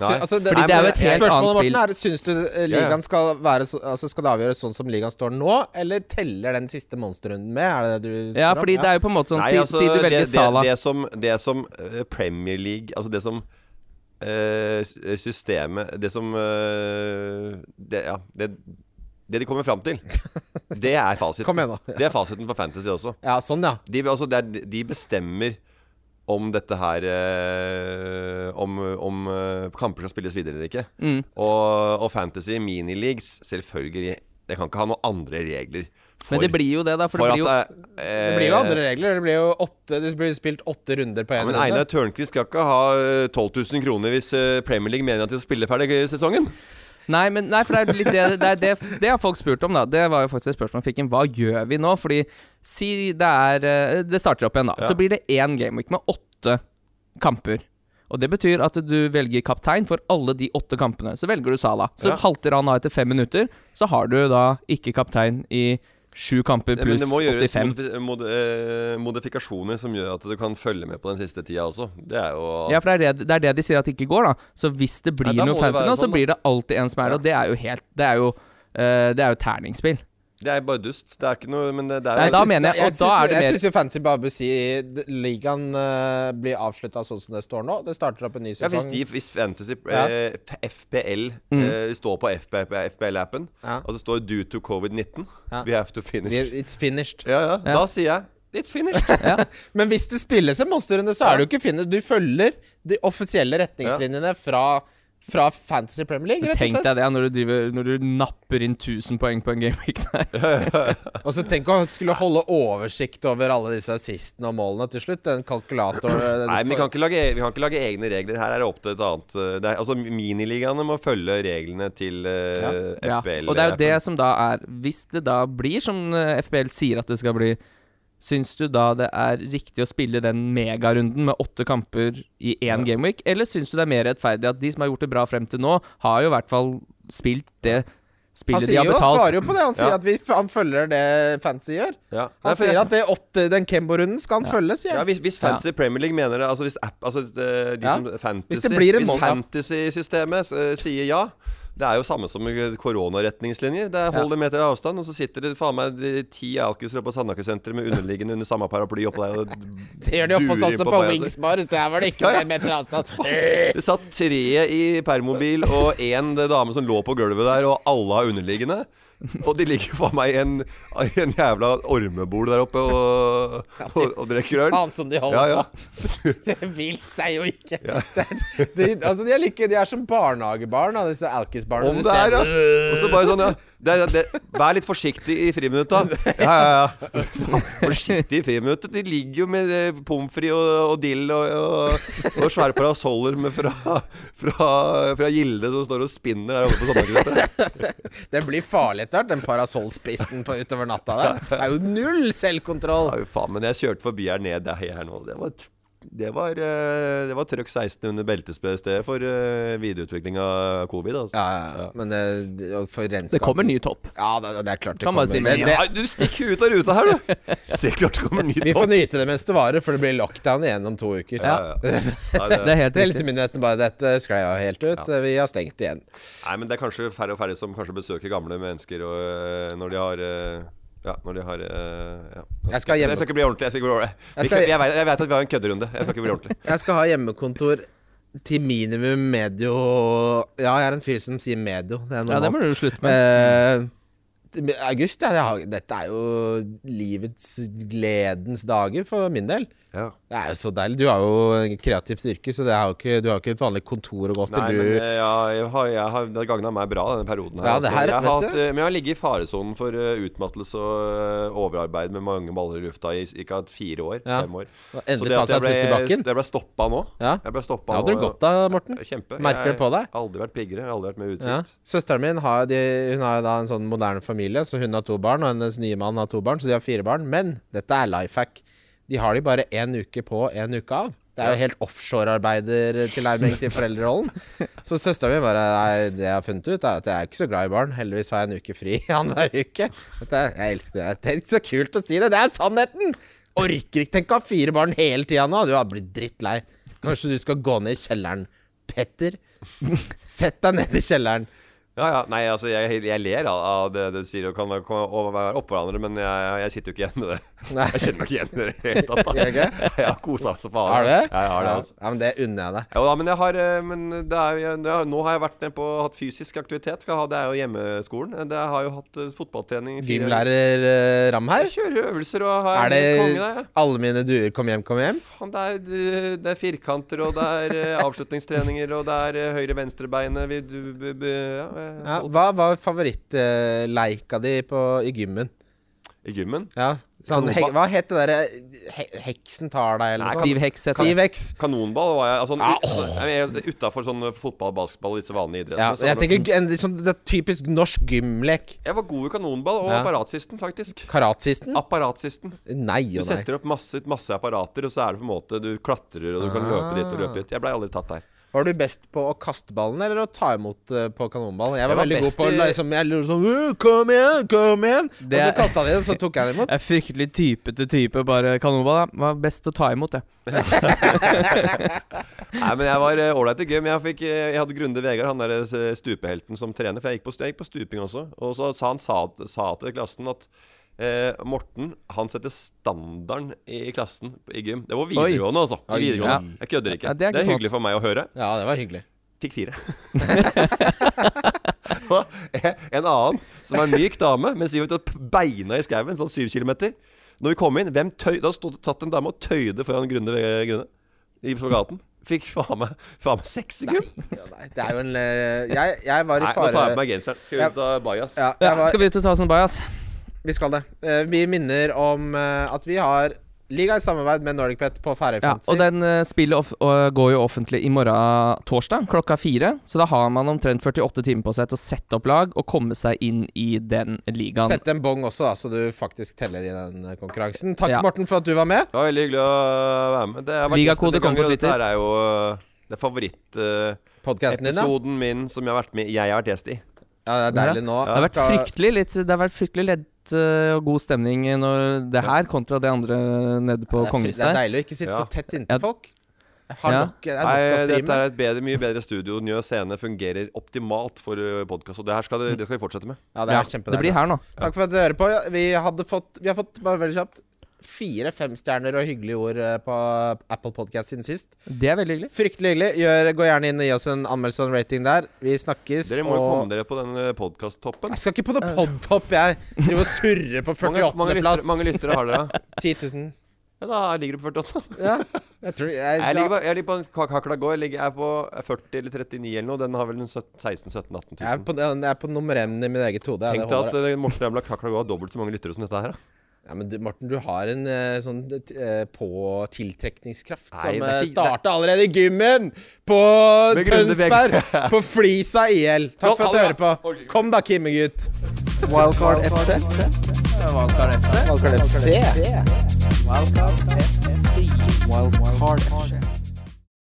Speaker 4: Nei.
Speaker 3: Så- altså, det,
Speaker 2: Fordi
Speaker 3: Nei,
Speaker 2: det er jo
Speaker 3: men
Speaker 2: et helt
Speaker 3: Spørsmålet
Speaker 2: annet
Speaker 3: Morten
Speaker 2: spill.
Speaker 3: er Syns du eh,
Speaker 4: Ja, ja.
Speaker 3: ligaen skal være så, altså, Skal det avgjøres sånn som ligaen står nå, eller teller den siste monsterrunden med? Er det det du
Speaker 2: Ja,
Speaker 3: spør om?
Speaker 2: fordi det er jo på en måte sånn
Speaker 4: Nei,
Speaker 2: Si,
Speaker 4: altså,
Speaker 2: si du
Speaker 4: det-
Speaker 2: velger
Speaker 4: det,
Speaker 2: Sala.
Speaker 4: Det som, det som eh, Premier League Altså det som eh, s- systemet Det som eh, det, Ja, det, det de kommer fram til, det er fasiten.
Speaker 3: Kom igjen nå.
Speaker 4: Det er fasiten for Fantasy også.
Speaker 3: Ja, sånn, ja.
Speaker 4: De, altså, det er, de bestemmer om dette her eh, Om, om eh, kamper skal spilles videre eller ikke.
Speaker 2: Mm.
Speaker 4: Og, og Fantasy minileagues, selvfølgelig. Jeg kan ikke ha noen andre regler. For,
Speaker 2: Men det blir jo det, da. For,
Speaker 4: for
Speaker 2: det blir jo
Speaker 4: at det, eh,
Speaker 3: Det blir jo andre regler. Det blir jo åtte Det blir spilt åtte runder på
Speaker 4: Ja,
Speaker 3: én
Speaker 4: men
Speaker 3: runde.
Speaker 4: Einar Tørnquist skal ikke ha eh, 12 000 kroner hvis eh, Premier League mener at de skal spille ferdig sesongen. Eh,
Speaker 2: Nei, men, nei, for det er litt det, det, er det Det har folk spurt om, da. Det var jo faktisk et spørsmål jeg fikk inn. Hva gjør vi nå? Fordi si det er eh, Det starter opp igjen, da.
Speaker 4: Ja.
Speaker 2: Så blir det én gameweek med åtte kamper. Og Det betyr at du velger kaptein for alle de åtte kampene. Så velger du Salah. Så
Speaker 4: Ja.
Speaker 2: halter han av etter fem minutter. Så har du da ikke kaptein i sju kamper
Speaker 4: Men
Speaker 2: pluss
Speaker 4: det må gjøres
Speaker 2: 85.
Speaker 4: modifi mod eh, modifikasjoner som gjør at du kan følge med på den siste tida også. Det er jo
Speaker 2: Ja, for det er det, det er det de sier at det ikke går, da. Så hvis det blir
Speaker 4: Nei, da må
Speaker 2: noe
Speaker 4: det
Speaker 2: fancy
Speaker 4: være
Speaker 2: nå, så
Speaker 4: sånn, da.
Speaker 2: blir det alltid en som er det. Og det er jo helt Det er jo, eh, det er jo terningspill.
Speaker 4: Det er bare dust. Det er ikke noe Men det, det er
Speaker 2: Nei,
Speaker 4: jo
Speaker 2: da mener jeg- og da
Speaker 3: syns-
Speaker 2: er det
Speaker 3: Jeg
Speaker 2: mer-
Speaker 3: syns jo Fancy Babu sier d- ligaen eh, blir avslutta sånn som det står nå. Det starter opp en ny
Speaker 4: ja, hvis,
Speaker 3: sesong.
Speaker 4: de, hvis Fantasy
Speaker 3: Ja.
Speaker 4: eh, F- FPL eh, står på FPL-appen,
Speaker 3: Ja.
Speaker 4: og det står 'due to covid-19',
Speaker 3: Ja.
Speaker 4: we have to finish.
Speaker 3: Vi- It's finished.
Speaker 4: Ja, ja, Da sier jeg 'it's finished'.
Speaker 3: Men hvis det spilles en monsterrunde, så er det jo ikke finished. Du følger de offisielle retningslinjene fra, fra Fantasy Premier League, rett og
Speaker 2: Tenk
Speaker 3: slett.
Speaker 2: deg det når du, driver, når du napper inn 1000 poeng på en gameweek der.
Speaker 3: Og så tenk å skulle holde oversikt over alle disse assistene og målene til slutt. En kalkulator den
Speaker 4: Nei, men vi
Speaker 3: for-
Speaker 4: kan, ikke lage, e- vi kan ikke lage egne regler. Her er det opp til et annet eh, det er, Altså, Miniligaene må følge reglene til eh,
Speaker 2: Ja.
Speaker 4: FPL.
Speaker 2: Og det er jo det som da er Hvis det da blir som eh, FBL sier at det skal bli, syns du da det er riktig å spille den megarunden med åtte kamper i én gameweek, eller syns du det er mer rettferdig at de som har gjort det bra frem til nå, har jo i hvert fall spilt
Speaker 3: han
Speaker 2: det spillet de
Speaker 3: sier
Speaker 2: har
Speaker 3: jo, han
Speaker 2: betalt?
Speaker 3: svarer jo på det. Han sier
Speaker 4: Ja.
Speaker 3: at vi, han følger det Fancy gjør.
Speaker 4: Ja. Nei,
Speaker 3: Han
Speaker 4: for jeg-
Speaker 3: sier at det åtte, den Kembo-runden skal han følge, sier
Speaker 4: Ja,
Speaker 3: han.
Speaker 4: hvis, hvis Fantasy Premier League mener det Altså hvis app Altså de, de
Speaker 3: Ja.
Speaker 4: som fantasy,
Speaker 3: Hvis det blir en
Speaker 4: hvis
Speaker 3: mål- ja.
Speaker 4: fantasy-systemet eh, sier ja det er jo samme som koronaretningslinjer. Det er Hold en meter avstand, og så sitter det faen meg de ti alkiser på Sandaker-senteret med underliggende under samme paraply oppå deg og
Speaker 3: Det gjør de oppe hos
Speaker 4: durer
Speaker 3: oss
Speaker 4: inn
Speaker 3: på
Speaker 4: deg, altså.
Speaker 3: Wings Bar. Der var det ikke en meter avstand.
Speaker 4: Det satt tre i permobil og én dame som lå på gulvet der, og alle har underliggende. Og de ligger faen meg i en, i en jævla ormebol der oppe og, og, og drikker øl.
Speaker 3: Faen som de holder
Speaker 4: Ja, ja.
Speaker 3: på. Det vil seg jo ikke. Det er, de, altså, de, er like, de er som barnehagebarn, da, disse alkisbarna.
Speaker 4: Om
Speaker 3: Du
Speaker 4: det
Speaker 3: ser
Speaker 4: er, ja.
Speaker 3: det.
Speaker 4: Og så bare sånn, ja. Det, er- det, vær litt forsiktig i friminutta. Ja, ja, ja. Forsiktig i friminuttet. De ligger jo med eh, pommes frites og, og dill og, og, og svære parasoller med fra, fra, fra Gilde som står og spinner der oppe på sommerkrysset.
Speaker 3: Det blir farlig etter hvert, den parasollspissen på utover natta der. Det er jo null selvkontroll.
Speaker 4: Ja, jo faen, men jeg kjørte forbi her ned der her nå. Det var, det var, eh, det var trøkk 16 under beltestedet for eh, videreutvikling av covid. Altså.
Speaker 3: Ja, ja, ja. Men det, det- og for
Speaker 2: Det
Speaker 3: regnskap
Speaker 2: kommer ny topp.
Speaker 3: Ja, det, det er klart det
Speaker 2: Kan
Speaker 3: kommer.
Speaker 2: bare si
Speaker 3: Men
Speaker 2: mye.
Speaker 3: det,
Speaker 4: Nei, du stikker ut av ruta her, du! Se klart det kommer nytt
Speaker 3: vi får
Speaker 4: opp.
Speaker 3: nyte det mens det varer, for det blir lockdown igjen om to uker.
Speaker 2: Ja.
Speaker 4: Nei, det,
Speaker 2: Det er helt riktig.
Speaker 3: Helsemyndighetene bare Dette sklei jo helt ut. Vi har stengt igjen.
Speaker 4: Nei, men det er kanskje færre og færre som kanskje besøker gamle mennesker og, øh, når de har øh, ja, når de har øh, ja.
Speaker 3: Jeg skal
Speaker 4: Men
Speaker 3: hjem-
Speaker 4: jeg skal ikke bli ordentlig. Jeg, skal ikke bli ordentlig.
Speaker 3: Jeg
Speaker 4: Jeg,
Speaker 3: skal-
Speaker 4: jeg, vet, jeg vet at vi har en kødderunde. Jeg skal ikke bli ordentlig.
Speaker 3: Jeg skal ha hjemmekontor til minimum medio Ja, jeg er en fyr som sier medio. Det er
Speaker 2: Ja, det må
Speaker 3: normalt.
Speaker 2: du slutte med.
Speaker 3: Eh, til mi- august, ja, jeg har, dette er jo livets gledens dager for min del.
Speaker 4: Ja.
Speaker 3: Det er jo så deilig. Du har jo et kreativt yrke, så det er jo ikke, du har jo ikke et vanlig kontor å gå til.
Speaker 4: Nei, men
Speaker 3: du,
Speaker 4: øh, ja, jeg har, jeg har, det har gagna meg bra, denne perioden her.
Speaker 3: Ja, det
Speaker 4: altså.
Speaker 3: her-
Speaker 4: jeg har
Speaker 3: vet
Speaker 4: hatt,
Speaker 3: du.
Speaker 4: øh, men jeg har ligget i faresonen for øh, utmattelse og øh, overarbeid med mange baller i lufta i ca. fire år.
Speaker 3: Ja.
Speaker 4: Fem år.
Speaker 3: Og endelig
Speaker 4: Så
Speaker 3: ta seg
Speaker 4: at jeg
Speaker 3: et pust i
Speaker 4: ble-
Speaker 3: bakken.
Speaker 4: Jeg ble stoppa nå.
Speaker 3: Ja.
Speaker 4: Jeg ble stoppa
Speaker 3: det hadde
Speaker 4: nå. eh,
Speaker 3: du godt av, Morten.
Speaker 4: Kjempe.
Speaker 3: Merker det på deg?
Speaker 4: Jeg har aldri vært piggere. Jeg har Aldri vært mer
Speaker 3: Ja.
Speaker 4: utrygt.
Speaker 3: Søsteren min har, de, hun har jo da en sånn moderne familie, så hun har to barn, og hennes nye mann har to barn, så de har fire barn. Men dette er life hack. De har de bare én uke på, én uke av. Det er jo helt offshorearbeidertilnærming til foreldrerollen. Så søsteren min bare Nei, det jeg har funnet ut, er at jeg er ikke så glad i barn. Heldigvis har jeg en uke fri annenhver uke. Dette er, jeg elsker det. Det er ikke så kult å si det. Det er sannheten! Orker ikke tenke å ha fire barn hele tida nå. Du har blitt drittlei. Kanskje du skal gå ned i kjelleren, Petter. Sett deg ned i kjelleren.
Speaker 4: Ja, ja, nei, altså jeg, jeg ler av, av det du sier og kan være- kan være oppå hverandre, men jeg, jeg sitter jo ikke igjen med det.
Speaker 3: Nei.
Speaker 4: Jeg kjenner meg ikke igjen i det hele tatt. da.
Speaker 3: Gjør du ikke?
Speaker 4: Jeg har kosa meg så faen.
Speaker 3: Har du det?
Speaker 4: Ja, jeg har det, altså.
Speaker 3: ja, men det unner jeg deg.
Speaker 4: Jo da, men jeg har eh, Men det er, jeg, det er, nå har jeg vært nede på hatt fysisk aktivitet. Skal ha, det er jo hjemmeskolen. Det er- har jo hatt eh, fotballtrening i fire-
Speaker 3: Gymlærer eh, Ram her.
Speaker 4: Jeg kjører øvelser og har
Speaker 3: Er det
Speaker 4: konge der. jeg.
Speaker 3: alle mine duer kom hjem, kom hjem?
Speaker 4: Faen, det er, det er firkanter, og det er eh, avslutningstreninger, og det er eh, høyre-venstre-beinet vi du- bu- bu- ja, eh,
Speaker 3: Ja,
Speaker 4: holdt-
Speaker 3: hva var favorittleika di på, i gymmen?
Speaker 4: I gymmen?
Speaker 3: Ja, Sånn, he, hva het det derre he, Heksen tar deg, eller
Speaker 4: Nei,
Speaker 3: noe sånt?
Speaker 2: Stiv heks heter
Speaker 3: Stiv
Speaker 2: det.
Speaker 3: heks.
Speaker 4: Kanonball var jeg altså, Utafor sånn fotball, basketball, disse vanlige idrettene.
Speaker 3: Ja,
Speaker 4: så
Speaker 3: jeg
Speaker 4: var det-
Speaker 3: tenker en, sånn, Det er typisk norsk gymlek.
Speaker 4: jeg var god i kanonball og
Speaker 3: Ja.
Speaker 4: apparatsisten, faktisk.
Speaker 3: Karatsisten?
Speaker 4: Apparatsisten.
Speaker 3: Nei
Speaker 4: Ah, Du
Speaker 3: og nei.
Speaker 4: setter opp masse, masse apparater, og så er det på en måte Du klatrer, og du kan løpe dit og løpe dit. Jeg blei aldri tatt der.
Speaker 3: Var du best på å kaste ballen eller å ta imot eh, på kanonball? Jeg var,
Speaker 4: Jeg var
Speaker 3: veldig god
Speaker 4: best
Speaker 3: på å
Speaker 4: i-
Speaker 3: liksom, jeg lurte sånn «Øh, Kom igjen, kom igjen! Og så
Speaker 2: Det-
Speaker 3: kasta de den, så tok jeg den imot.
Speaker 2: Jeg er fryktelig typete type, bare kanonball. da. Var best å ta imot, det.
Speaker 4: Nei, men jeg var eh, ålreit i gym. Jeg, fikk, eh, jeg hadde Grunde Vegard, han der eh, stupehelten som trener. For jeg gikk på, jeg gikk på stuping også. Og så sa han sa, sa til klassen at eh, Morten han setter standarden i klassen i gym. Det var videregående, altså.
Speaker 3: Oi.
Speaker 4: I videregående. Jeg kødder ikke.
Speaker 2: Ja, det er
Speaker 4: det er,
Speaker 2: ikke sant.
Speaker 4: hyggelig for meg å høre.
Speaker 3: Ja, det var hyggelig.
Speaker 4: Fikk fire. Og en annen som var en myk dame, mens vi var ute og beina i skauen, sånn syv kilometer. Når vi kom inn, hvem tøy, da stod, satt en dame og tøyde foran Grunde ved Grunde i spagaten. Fikk faen meg, faen meg seks sekunder.
Speaker 3: Ja, nei, det er jo en eh, Jeg, jeg var i
Speaker 4: Nei, nå tar jeg på
Speaker 3: fare
Speaker 4: meg genseren. Skal vi ut av bajas?
Speaker 3: ja,
Speaker 2: Ja,
Speaker 3: jeg var,
Speaker 2: skal vi ut og ta oss en bajas?
Speaker 3: Vi skal det. Eh, Vi minner om eh, at vi har liga i samarbeid med Nordic Pet på Færøy
Speaker 2: Ja,
Speaker 3: Fantasy.
Speaker 2: og den eh, spillet off og går jo offentlig i morgen torsdag klokka fire. Så da har man omtrent 48 timer på seg til å sette opp lag og komme seg inn i den ligaen.
Speaker 3: Sett en bong også, da, så du faktisk teller i den eh, konkurransen. Takk,
Speaker 2: Ja.
Speaker 3: Morten, for at du var med.
Speaker 4: Det var veldig hyggelig å være med. Det har vært
Speaker 2: Ligakode
Speaker 4: gjest en del
Speaker 2: kommer på
Speaker 4: ganger, og dette
Speaker 2: Twitter.
Speaker 4: her er jo øh, det er favorittepisoden
Speaker 3: Podkasten din, da.
Speaker 4: min som jeg har vært med Jeg har vært gjest i.
Speaker 3: Ja, det er deilig nå.
Speaker 2: Det har vært
Speaker 3: Skal-
Speaker 2: fryktelig litt Det har vært fryktelig lett eh, og god stemning når det her kontra det andre nede på
Speaker 3: Det er fri- Det er
Speaker 2: Kongenstad.
Speaker 3: deilig å ikke sitte
Speaker 4: Ja.
Speaker 3: så tett
Speaker 2: Ja.
Speaker 3: inntil folk. Jeg har
Speaker 2: Ja.
Speaker 3: nok, det er
Speaker 4: Nei,
Speaker 3: nok å
Speaker 4: dette
Speaker 3: streame.
Speaker 4: er et bedre, mye bedre studio. Njø scene fungerer optimalt for podkast, og det her skal, det, det skal vi fortsette med.
Speaker 3: Ja, det
Speaker 2: Ja,
Speaker 3: er
Speaker 2: det blir
Speaker 3: kjempedeilig.
Speaker 2: her nå.
Speaker 3: Takk for at du hører på. Vi, hadde fått, vi har fått bare veldig kjapt fire-fem stjerner og hyggelige ord eh, på Apple Podcast siden sist.
Speaker 2: Det er veldig hyggelig.
Speaker 3: Fryktelig hyggelig. Gjør, gå gjerne inn og gi oss en anmeldelse og en rating der. Vi snakkes.
Speaker 4: Dere må jo
Speaker 3: og
Speaker 4: komme dere på den eh, podkasttoppen.
Speaker 3: jeg skal ikke på noe podtopp, jeg. Driver og surrer på
Speaker 4: Mange,
Speaker 3: 48.
Speaker 4: mange, lyttere,
Speaker 3: plass.
Speaker 4: mange lyttere har dere?
Speaker 3: 10 000.
Speaker 4: Ja, da ligger du på 48.
Speaker 3: Ja, jeg tror jeg,
Speaker 4: Jeg ligger på, jeg ligger på en kak- kakla gå. Jeg ligger- jeg er på 40 eller 39 eller noe. Den har vel en 17 16 17 18
Speaker 3: jeg er
Speaker 4: 000.
Speaker 3: på, jeg er på nummer én i mitt eget hode. ja,
Speaker 4: Tenk
Speaker 3: det
Speaker 4: deg
Speaker 3: holder.
Speaker 4: at eh, Morten Ramla Kakla Gå har dobbelt så mange lyttere som dette her. da.
Speaker 3: Ja, men du, Morten, du har en eh, sånn eh, på tiltrekningskraft
Speaker 4: Nei,
Speaker 3: som
Speaker 4: det er
Speaker 3: eh,
Speaker 4: ikke-
Speaker 3: starta allerede i gymmen! På
Speaker 4: Med Grunde
Speaker 3: Tønsberg! På Flisa IL. Takk
Speaker 4: Sånn,
Speaker 3: for at du
Speaker 4: ha
Speaker 3: hører
Speaker 4: det
Speaker 3: på.
Speaker 4: bra. Ok.
Speaker 3: Kom da, Kimmegutt.
Speaker 1: Wildcard FC.
Speaker 3: Valgkarl FC.
Speaker 1: Wildcard FC. Wildcard FC.